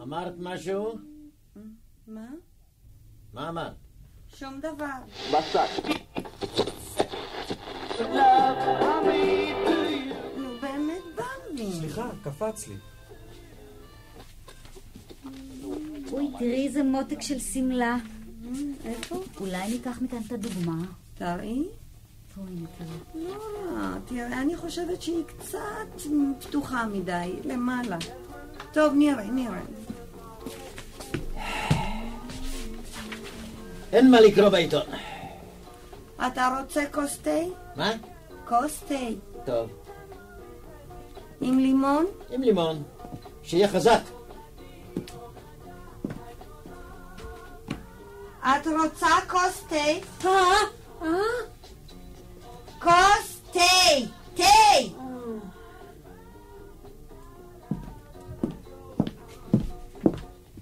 Speaker 6: אמרת משהו?
Speaker 5: מה?
Speaker 6: מה אמרת?
Speaker 5: שום דבר.
Speaker 13: בשק.
Speaker 5: נו, באמת בא לי.
Speaker 9: סליחה, קפץ לי.
Speaker 14: אוי, תראי איזה מותק של שמלה.
Speaker 5: איפה?
Speaker 14: אולי ניקח מכאן את הדוגמה.
Speaker 5: תראי.
Speaker 14: תראי, נקרא.
Speaker 5: לא, תראה, אני חושבת שהיא קצת פתוחה מדי, למעלה. טוב, נראה, נראה.
Speaker 6: אין מה לקרוא בעיתון.
Speaker 5: אתה רוצה כוס תה?
Speaker 6: מה?
Speaker 5: כוס תה.
Speaker 6: טוב.
Speaker 5: עם לימון?
Speaker 6: עם לימון. שיהיה חזק.
Speaker 5: את רוצה כוס תה?
Speaker 7: אה? אה?
Speaker 5: כוס תה! תה!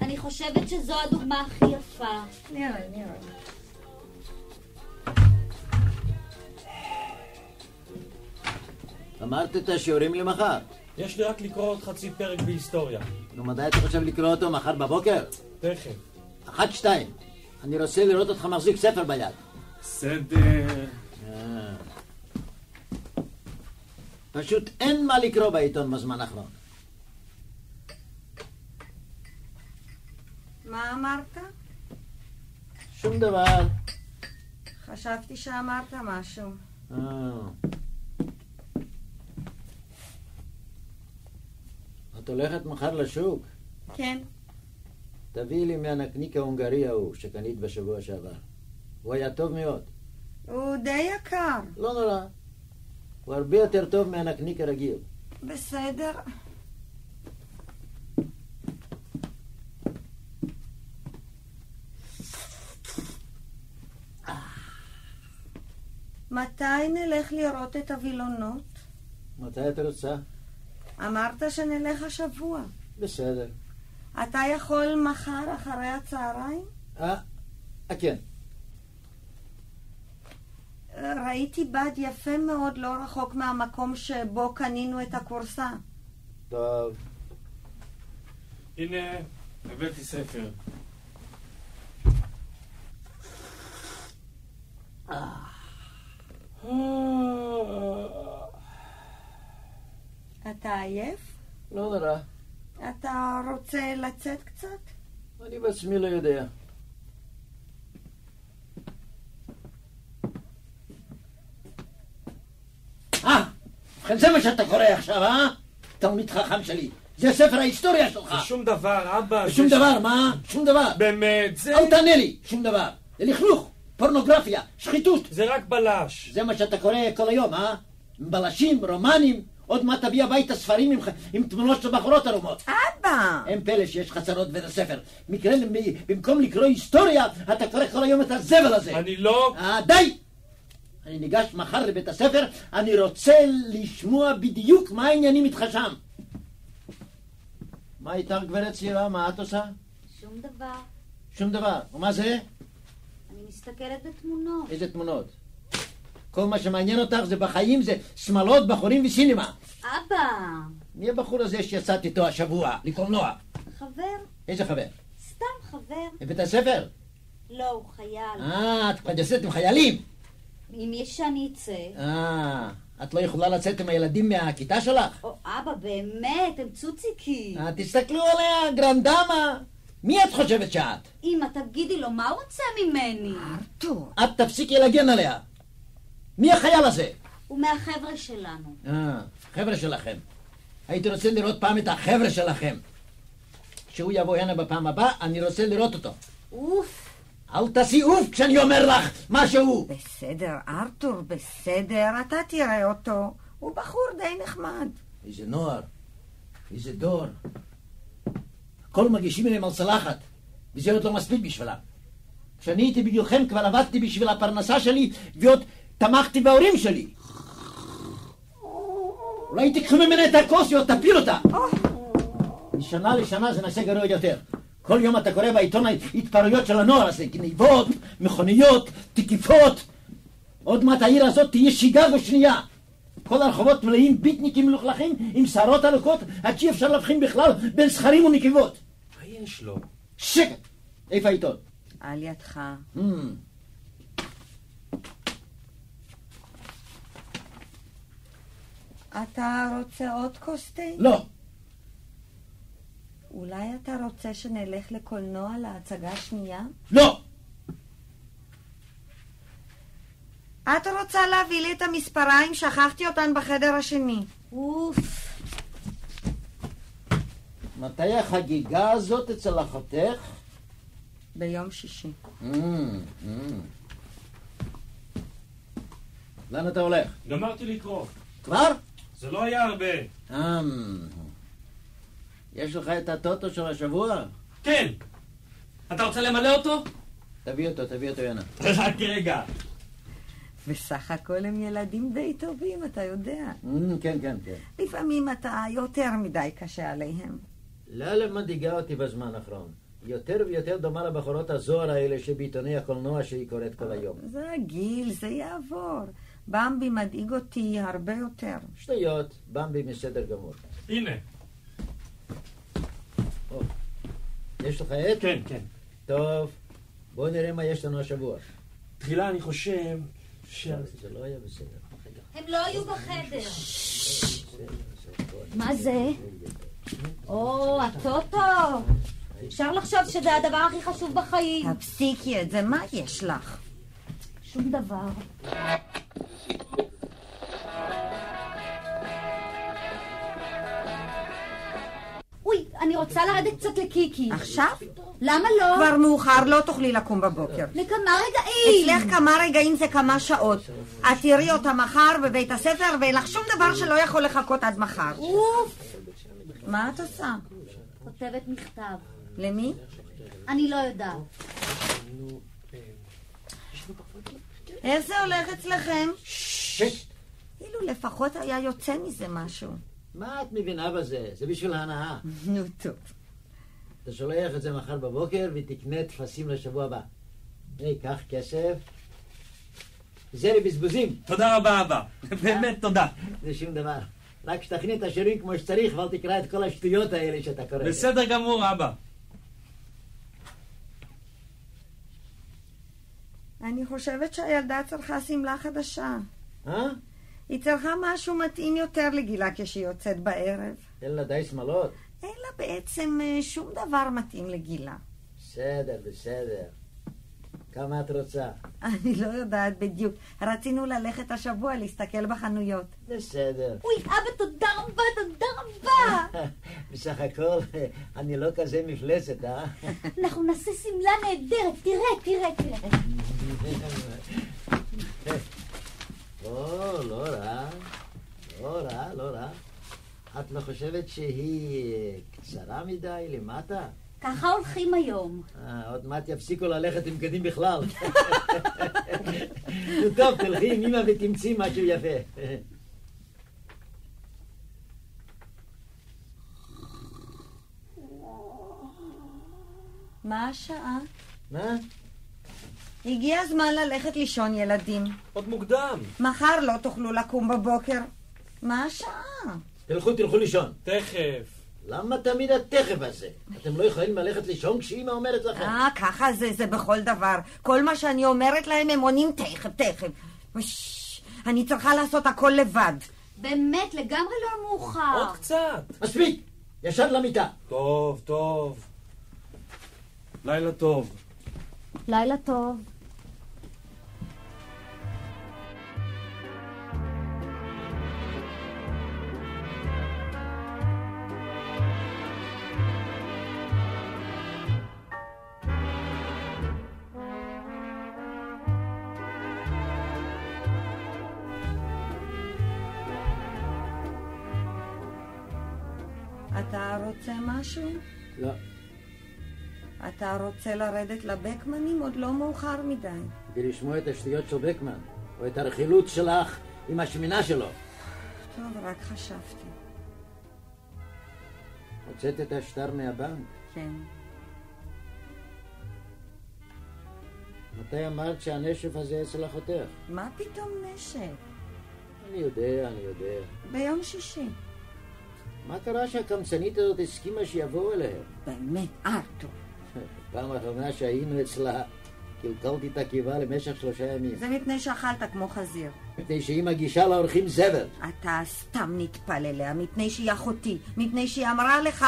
Speaker 12: אני חושבת שזו הדוגמה הכי יפה.
Speaker 5: נראה, נראה.
Speaker 6: אמרת את השיעורים למחר.
Speaker 9: יש לי רק לקרוא עוד חצי פרק בהיסטוריה.
Speaker 6: נו, מתי אתה חושב לקרוא אותו מחר בבוקר?
Speaker 9: תכף.
Speaker 6: אחת, שתיים. אני רוצה לראות אותך מחזיק ספר ביד.
Speaker 9: בסדר.
Speaker 6: אה. פשוט אין מה לקרוא בעיתון בזמן האחרון.
Speaker 5: מה אמרת?
Speaker 6: שום דבר.
Speaker 5: חשבתי שאמרת משהו.
Speaker 6: אה. את הולכת מחר לשוק?
Speaker 5: כן.
Speaker 6: תביאי לי מהנקניק ההונגרי ההוא שקנית בשבוע שעבר. הוא היה טוב מאוד.
Speaker 5: הוא די יקר.
Speaker 6: לא נורא. הוא הרבה יותר טוב מהנקניק הרגיל.
Speaker 5: בסדר. מתי נלך לראות את הווילונות?
Speaker 6: מתי את רוצה?
Speaker 5: אמרת שנלך השבוע.
Speaker 6: בסדר.
Speaker 5: אתה יכול מחר אחרי הצהריים?
Speaker 6: אה, אה, כן.
Speaker 5: ראיתי בד יפה מאוד לא רחוק מהמקום שבו קנינו את הכורסה.
Speaker 6: טוב.
Speaker 9: הנה, הבאתי ספר. אה.
Speaker 5: אתה עייף?
Speaker 6: לא נורא.
Speaker 5: אתה רוצה לצאת קצת?
Speaker 6: אני בעצמי לא יודע. אה, ובכן זה מה שאתה קורא עכשיו, אה? תלמיד חכם שלי. זה ספר ההיסטוריה שלך.
Speaker 9: זה שום דבר, אבא.
Speaker 6: שום
Speaker 9: זה-
Speaker 6: דבר, מה? שום דבר.
Speaker 9: באמת, זה...
Speaker 6: אל תענה לי, שום דבר. זה לכלוך, פורנוגרפיה, שחיתות.
Speaker 9: זה רק בלש.
Speaker 6: זה מה שאתה קורא כל היום, אה? בלשים, רומנים. עוד מעט תביא הביתה ספרים עם, ח- עם תמונות של בחורות ערומות.
Speaker 5: אבא!
Speaker 6: אין פלא שיש חצרות בבית הספר. מקרה, במקום לקרוא היסטוריה, אתה קורא כל היום את הזבל הזה.
Speaker 9: אני לא...
Speaker 6: אה, די! אני ניגש מחר לבית הספר, אני רוצה לשמוע בדיוק מה העניינים איתך שם. מה איתך, גברת צעירה? מה את עושה?
Speaker 7: שום דבר.
Speaker 6: שום דבר. ומה זה?
Speaker 7: אני מסתכלת בתמונות.
Speaker 6: איזה תמונות. כל מה שמעניין אותך זה בחיים, זה שמלות, בחורים וסינימה.
Speaker 7: אבא,
Speaker 6: מי הבחור הזה שיצאת איתו השבוע לקולנוע?
Speaker 7: חבר,
Speaker 6: איזה חבר?
Speaker 7: סתם חבר.
Speaker 6: בבית הספר?
Speaker 7: לא, הוא חייל.
Speaker 6: אה, את כבר יוצאת עם חיילים.
Speaker 7: אם יש שאני אצא...
Speaker 6: אה, את לא יכולה לצאת עם הילדים מהכיתה שלך?
Speaker 7: או, אבא, באמת, הם צוציקים.
Speaker 6: אה, תסתכלו עליה, גרנדמה. מי את חושבת שאת?
Speaker 7: אמא, תגידי לו, מה הוא רוצה ממני?
Speaker 5: טוב.
Speaker 6: את תפסיקי להגן עליה. מי החייל הזה?
Speaker 7: הוא מהחבר'ה שלנו.
Speaker 6: אה, חבר'ה שלכם. הייתי רוצה לראות פעם את החבר'ה שלכם. כשהוא יבוא הנה בפעם הבאה, אני רוצה לראות אותו.
Speaker 7: אוף,
Speaker 6: אל תעשי אוף כשאני אומר לך משהו!
Speaker 5: בסדר, ארתור, בסדר, אתה תראה אותו. הוא בחור די נחמד.
Speaker 6: איזה נוער, איזה דור. הכל מגישים אליהם על צלחת, וזה עוד לא מספיק בשבילם. כשאני הייתי בגילכם כבר עבדתי בשביל הפרנסה שלי, ועוד תמכתי בהורים שלי. אולי תיקחו ממנה את הכוס ועוד תפיל אותה. משנה לשנה זה נעשה גרוע יותר. כל יום אתה קורא בעיתון ההתפרעויות של הנוער הזה, גניבות, מכוניות, תקיפות. עוד מעט העיר הזאת תהיה שיגגו שנייה. כל הרחובות מלאים ביטניקים מלוכלכים עם שערות ארוכות עד שאי אפשר להבחין בכלל בין זכרים ונקבות.
Speaker 9: מה יש לו?
Speaker 6: שקט! איפה העיתון?
Speaker 5: על ידך.
Speaker 6: Hmm.
Speaker 5: אתה רוצה עוד כוס תה?
Speaker 6: לא,
Speaker 5: אולי אתה רוצה שנלך לקולנוע להצגה שנייה?
Speaker 6: לא,
Speaker 5: את רוצה להביא לי את המספריים? שכחתי אותן בחדר השני.
Speaker 7: אוף.
Speaker 6: מתי החגיגה הזאת אצל אחותך?
Speaker 5: ביום שישי.
Speaker 6: Mm, לאן אתה הולך?
Speaker 9: גמרתי לקרוא.
Speaker 6: כבר?
Speaker 9: זה לא היה הרבה.
Speaker 6: אה, יש לך את הטוטו של השבוע?
Speaker 9: כן. אתה רוצה למלא אותו?
Speaker 6: תביא אותו, תביא אותו הנה.
Speaker 9: רק רגע.
Speaker 5: בסך הכל הם ילדים די טובים, אתה יודע.
Speaker 6: Hmm, כן, כן, כן.
Speaker 5: לפעמים אתה יותר מדי קשה עליהם.
Speaker 6: לאלה מדאיגה לא אותי בזמן האחרון. יותר ויותר דומה לבחורות הזוהר האלה שבעיתוני הקולנוע שהיא קוראת כל היום.
Speaker 5: זה הגיל, זה יעבור. במבי מדאיג אותי הרבה יותר.
Speaker 6: שטויות, במבי בסדר גמור.
Speaker 9: הנה.
Speaker 6: יש לך עט?
Speaker 9: כן, כן.
Speaker 6: טוב, בואו נראה מה יש לנו השבוע.
Speaker 9: תחילה אני חושב ש...
Speaker 6: זה לא היה בסדר.
Speaker 7: הם לא היו בחדר. מה זה? או, הטוטו. אפשר לחשוב שזה הדבר הכי חשוב בחיים.
Speaker 5: תפסיקי את זה, מה יש לך?
Speaker 7: שום דבר. אוי, אני רוצה לרדת קצת לקיקי.
Speaker 5: עכשיו?
Speaker 7: למה לא?
Speaker 5: כבר מאוחר, לא תוכלי לקום בבוקר.
Speaker 7: לכמה רגעים.
Speaker 5: אצלך כמה רגעים זה כמה שעות. את תראי אותה מחר בבית הספר, ואין לך שום דבר שלא יכול לחכות עד מחר.
Speaker 7: אוף.
Speaker 5: מה את עושה?
Speaker 7: כותבת מכתב.
Speaker 5: למי?
Speaker 7: אני לא יודעת.
Speaker 5: איך זה הולך אצלכם? אילו לפחות היה יוצא מזה משהו.
Speaker 6: מה את מבינה בזה? זה בשביל ההנאה.
Speaker 5: נו, טוב.
Speaker 6: אתה שולח את זה מחר בבוקר ותקנה טפסים לשבוע הבא. היי, קח כסף. זה לבזבוזים.
Speaker 9: תודה רבה, אבא. באמת תודה.
Speaker 6: זה שום דבר. רק שתכין את השירים כמו שצריך ואל תקרא את כל השטויות האלה שאתה קורא.
Speaker 9: בסדר גמור, אבא.
Speaker 5: אני חושבת שהילדה צריכה שמלה חדשה.
Speaker 6: אה?
Speaker 5: היא צריכה משהו מתאים יותר לגילה כשהיא יוצאת בערב.
Speaker 6: אין לה די שמלות.
Speaker 5: אין לה בעצם אה, שום דבר מתאים לגילה.
Speaker 6: בסדר, בסדר. כמה את רוצה?
Speaker 5: אני לא יודעת בדיוק. רצינו ללכת השבוע להסתכל בחנויות.
Speaker 6: בסדר.
Speaker 5: אוי, אבא, תודה רבה, תודה רבה.
Speaker 6: בסך הכל, אני לא כזה מפלצת, אה?
Speaker 7: אנחנו נעשה שמלה נהדרת, תראה, תראה, תראה.
Speaker 6: לא, לא רע. לא רע, לא רע. את לא חושבת שהיא אה, קצרה מדי למטה?
Speaker 7: ככה הולכים היום.
Speaker 6: אה, עוד מעט יפסיקו ללכת עם בגדים בכלל. נו, טוב, תלכי עם אמא ותמצאי משהו יפה.
Speaker 5: מה השעה?
Speaker 6: מה?
Speaker 5: הגיע הזמן ללכת לישון, ילדים.
Speaker 9: עוד מוקדם.
Speaker 5: מחר לא תוכלו לקום בבוקר. מה השעה?
Speaker 6: תלכו, תלכו לישון.
Speaker 9: תכף.
Speaker 6: למה תמיד התכף הזה? אתם לא יכולים ללכת לישון כשאימא אומרת לכם.
Speaker 5: אה, ככה זה, זה בכל דבר. כל מה שאני אומרת להם הם עונים תכף, תכף. וש, אני צריכה לעשות הכל לבד.
Speaker 7: באמת, לגמרי לא מאוחר.
Speaker 9: עוד קצת.
Speaker 6: מספיק! ישר למיטה.
Speaker 9: טוב, טוב. לילה טוב.
Speaker 7: לילה טוב.
Speaker 5: אתה רוצה משהו?
Speaker 6: לא,
Speaker 5: אתה רוצה לרדת לבקמנים? עוד לא מאוחר מדי.
Speaker 6: ולשמוע את השטויות של בקמן, או את הרכילות שלך עם השמינה שלו.
Speaker 5: טוב, רק חשבתי.
Speaker 6: הוצאת את השטר מהבנק.
Speaker 5: כן.
Speaker 6: מתי אמרת שהנשף הזה אצל אחותך?
Speaker 5: מה פתאום נשק?
Speaker 6: אני יודע, אני יודע.
Speaker 5: ביום שישי.
Speaker 6: מה קרה שהקמצנית הזאת הסכימה שיבואו אליהם?
Speaker 5: באמת, ארתור.
Speaker 6: פעם האחרונה שהיינו אצלה, קלקלתי את הקיבה למשך שלושה ימים.
Speaker 5: זה מפני שאכלת כמו חזיר.
Speaker 6: מפני שהיא מגישה לאורחים זבל.
Speaker 5: אתה סתם נטפל אליה, מפני שהיא אחותי, מפני שהיא אמרה לך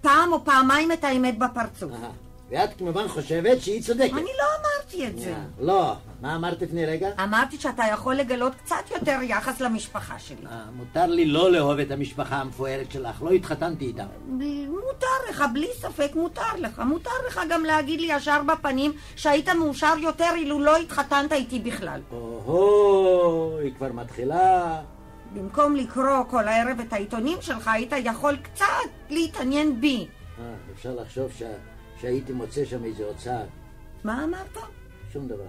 Speaker 5: פעם או פעמיים את האמת בפרצוף.
Speaker 6: אה, ואת כמובן חושבת שהיא
Speaker 5: אני
Speaker 6: צודקת.
Speaker 5: לא אמרתי את זה.
Speaker 6: אה, לא. מה אמרת לפני רגע?
Speaker 5: אמרתי שאתה יכול לגלות קצת יותר יחס למשפחה שלי.
Speaker 6: אה, מותר לי לא לאהוב את המשפחה המפוארת שלך, לא התחתנתי איתה.
Speaker 5: מותר לך, בלי ספק מותר לך. מותר לך גם להגיד לי ישר בפנים שהיית מאושר יותר אילו לא התחתנת איתי בכלל.
Speaker 6: או-הו, היא כבר מתחילה.
Speaker 5: במקום לקרוא כל הערב את העיתונים שלך, היית יכול קצת להתעניין בי.
Speaker 6: אה, אפשר לחשוב ש... שהייתי מוצא שם איזה הוצאה.
Speaker 5: מה אמרת?
Speaker 6: שום דבר.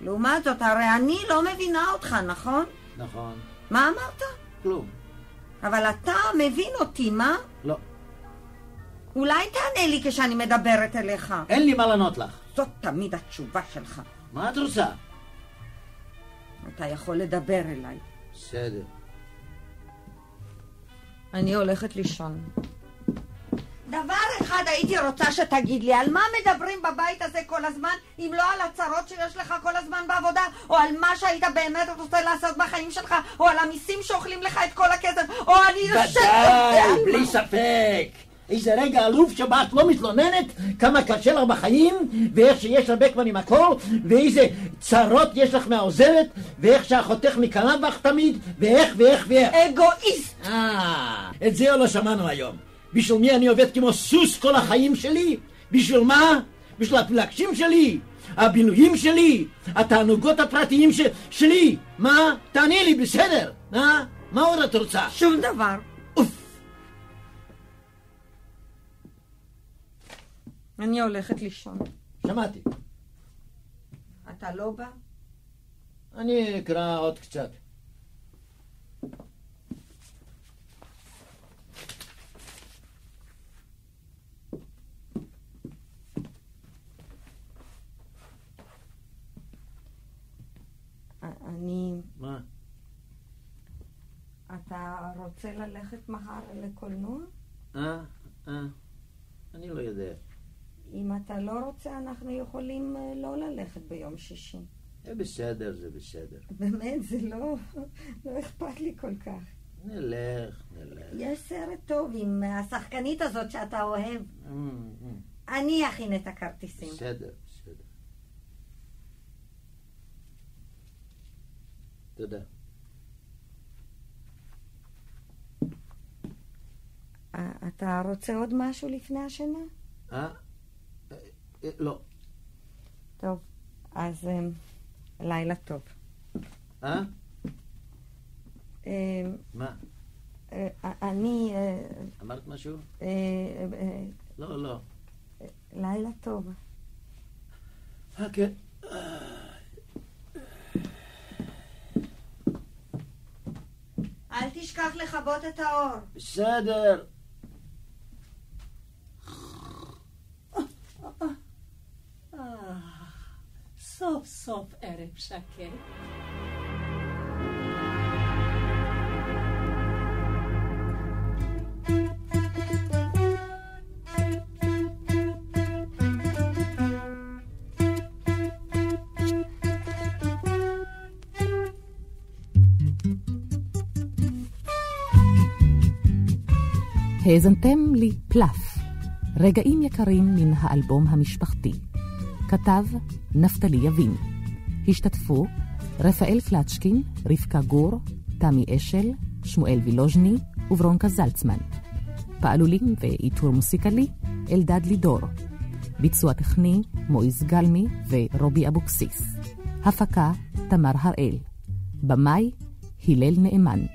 Speaker 5: לעומת זאת, הרי אני לא מבינה אותך, נכון?
Speaker 6: נכון.
Speaker 5: מה אמרת?
Speaker 6: כלום.
Speaker 5: אבל אתה מבין אותי, מה?
Speaker 6: לא.
Speaker 5: אולי תענה לי כשאני מדברת אליך.
Speaker 6: אין לי מה לענות לך.
Speaker 5: זאת תמיד התשובה שלך.
Speaker 6: מה את רוצה?
Speaker 5: אתה יכול לדבר אליי.
Speaker 6: בסדר.
Speaker 5: אני הולכת לישון. דבר אחד הייתי רוצה שתגיד לי, על מה מדברים בבית הזה כל הזמן, אם לא על הצרות שיש לך כל הזמן בעבודה, או על מה שהיית באמת רוצה לעשות בחיים שלך, או על המיסים שאוכלים לך את כל הכסף, או אני...
Speaker 6: ודאי, בלי ספק. איזה רגע עלוב שבה את לא מתלוננת כמה קשה לך בחיים ואיך שיש לבקמן עם הכל ואיזה צרות יש לך מהעוזרת ואיך שאחותך מקנאה בך תמיד ואיך ואיך ואיך.
Speaker 5: אגואיסט!
Speaker 6: אה, את זה עוד לא שמענו היום. בשביל מי אני עובד כמו סוס כל החיים שלי? בשביל מה? בשביל הפלגשים שלי? הבילויים שלי? התענוגות הפרטיים ש... שלי? מה? תעני לי, בסדר? אה? מה עוד את רוצה?
Speaker 5: שום דבר.
Speaker 6: אוף.
Speaker 5: אני הולכת לישון.
Speaker 6: שמעתי.
Speaker 5: אתה לא בא?
Speaker 6: אני אקרא עוד קצת.
Speaker 5: אני...
Speaker 6: מה?
Speaker 5: אתה רוצה ללכת מחר לקולנוע?
Speaker 6: אה? אה? אני לא יודע.
Speaker 5: אם אתה לא רוצה, אנחנו יכולים אה, לא ללכת ביום שישי.
Speaker 6: זה אה, בסדר, זה בסדר.
Speaker 5: באמת, זה לא... לא אכפת לי כל כך.
Speaker 6: נלך, נלך.
Speaker 5: יש סרט טוב עם השחקנית הזאת שאתה אוהב.
Speaker 6: אמ, אמ,
Speaker 5: אני אכין את הכרטיסים.
Speaker 6: בסדר, בסדר. תודה.
Speaker 5: אה, אתה רוצה עוד משהו לפני השינה?
Speaker 6: אה? אה, אה, לא.
Speaker 5: טוב, אז אה, לילה טוב.
Speaker 6: אה?
Speaker 5: אה,
Speaker 6: מה?
Speaker 5: אה, אני... אה,
Speaker 6: אמרת משהו?
Speaker 5: אה, אה,
Speaker 6: לא, לא.
Speaker 5: לילה טוב.
Speaker 6: אה, כן.
Speaker 5: אל תשכח לכבות את האור.
Speaker 6: בסדר.
Speaker 15: אה, סוף סוף ערב שקט.
Speaker 4: האזנתם לי פלף, רגעים יקרים מן האלבום המשפחתי. כתב נפתלי יבין. השתתפו רפאל קלצ'קין, רבקה גור, תמי אשל, שמואל וילוז'ני וברונקה זלצמן. פעלולים ועיטור מוסיקלי אלדד לידור. ביצוע טכני מויז גלמי ורובי אבוקסיס. הפקה תמר הראל. במאי הלל נאמן.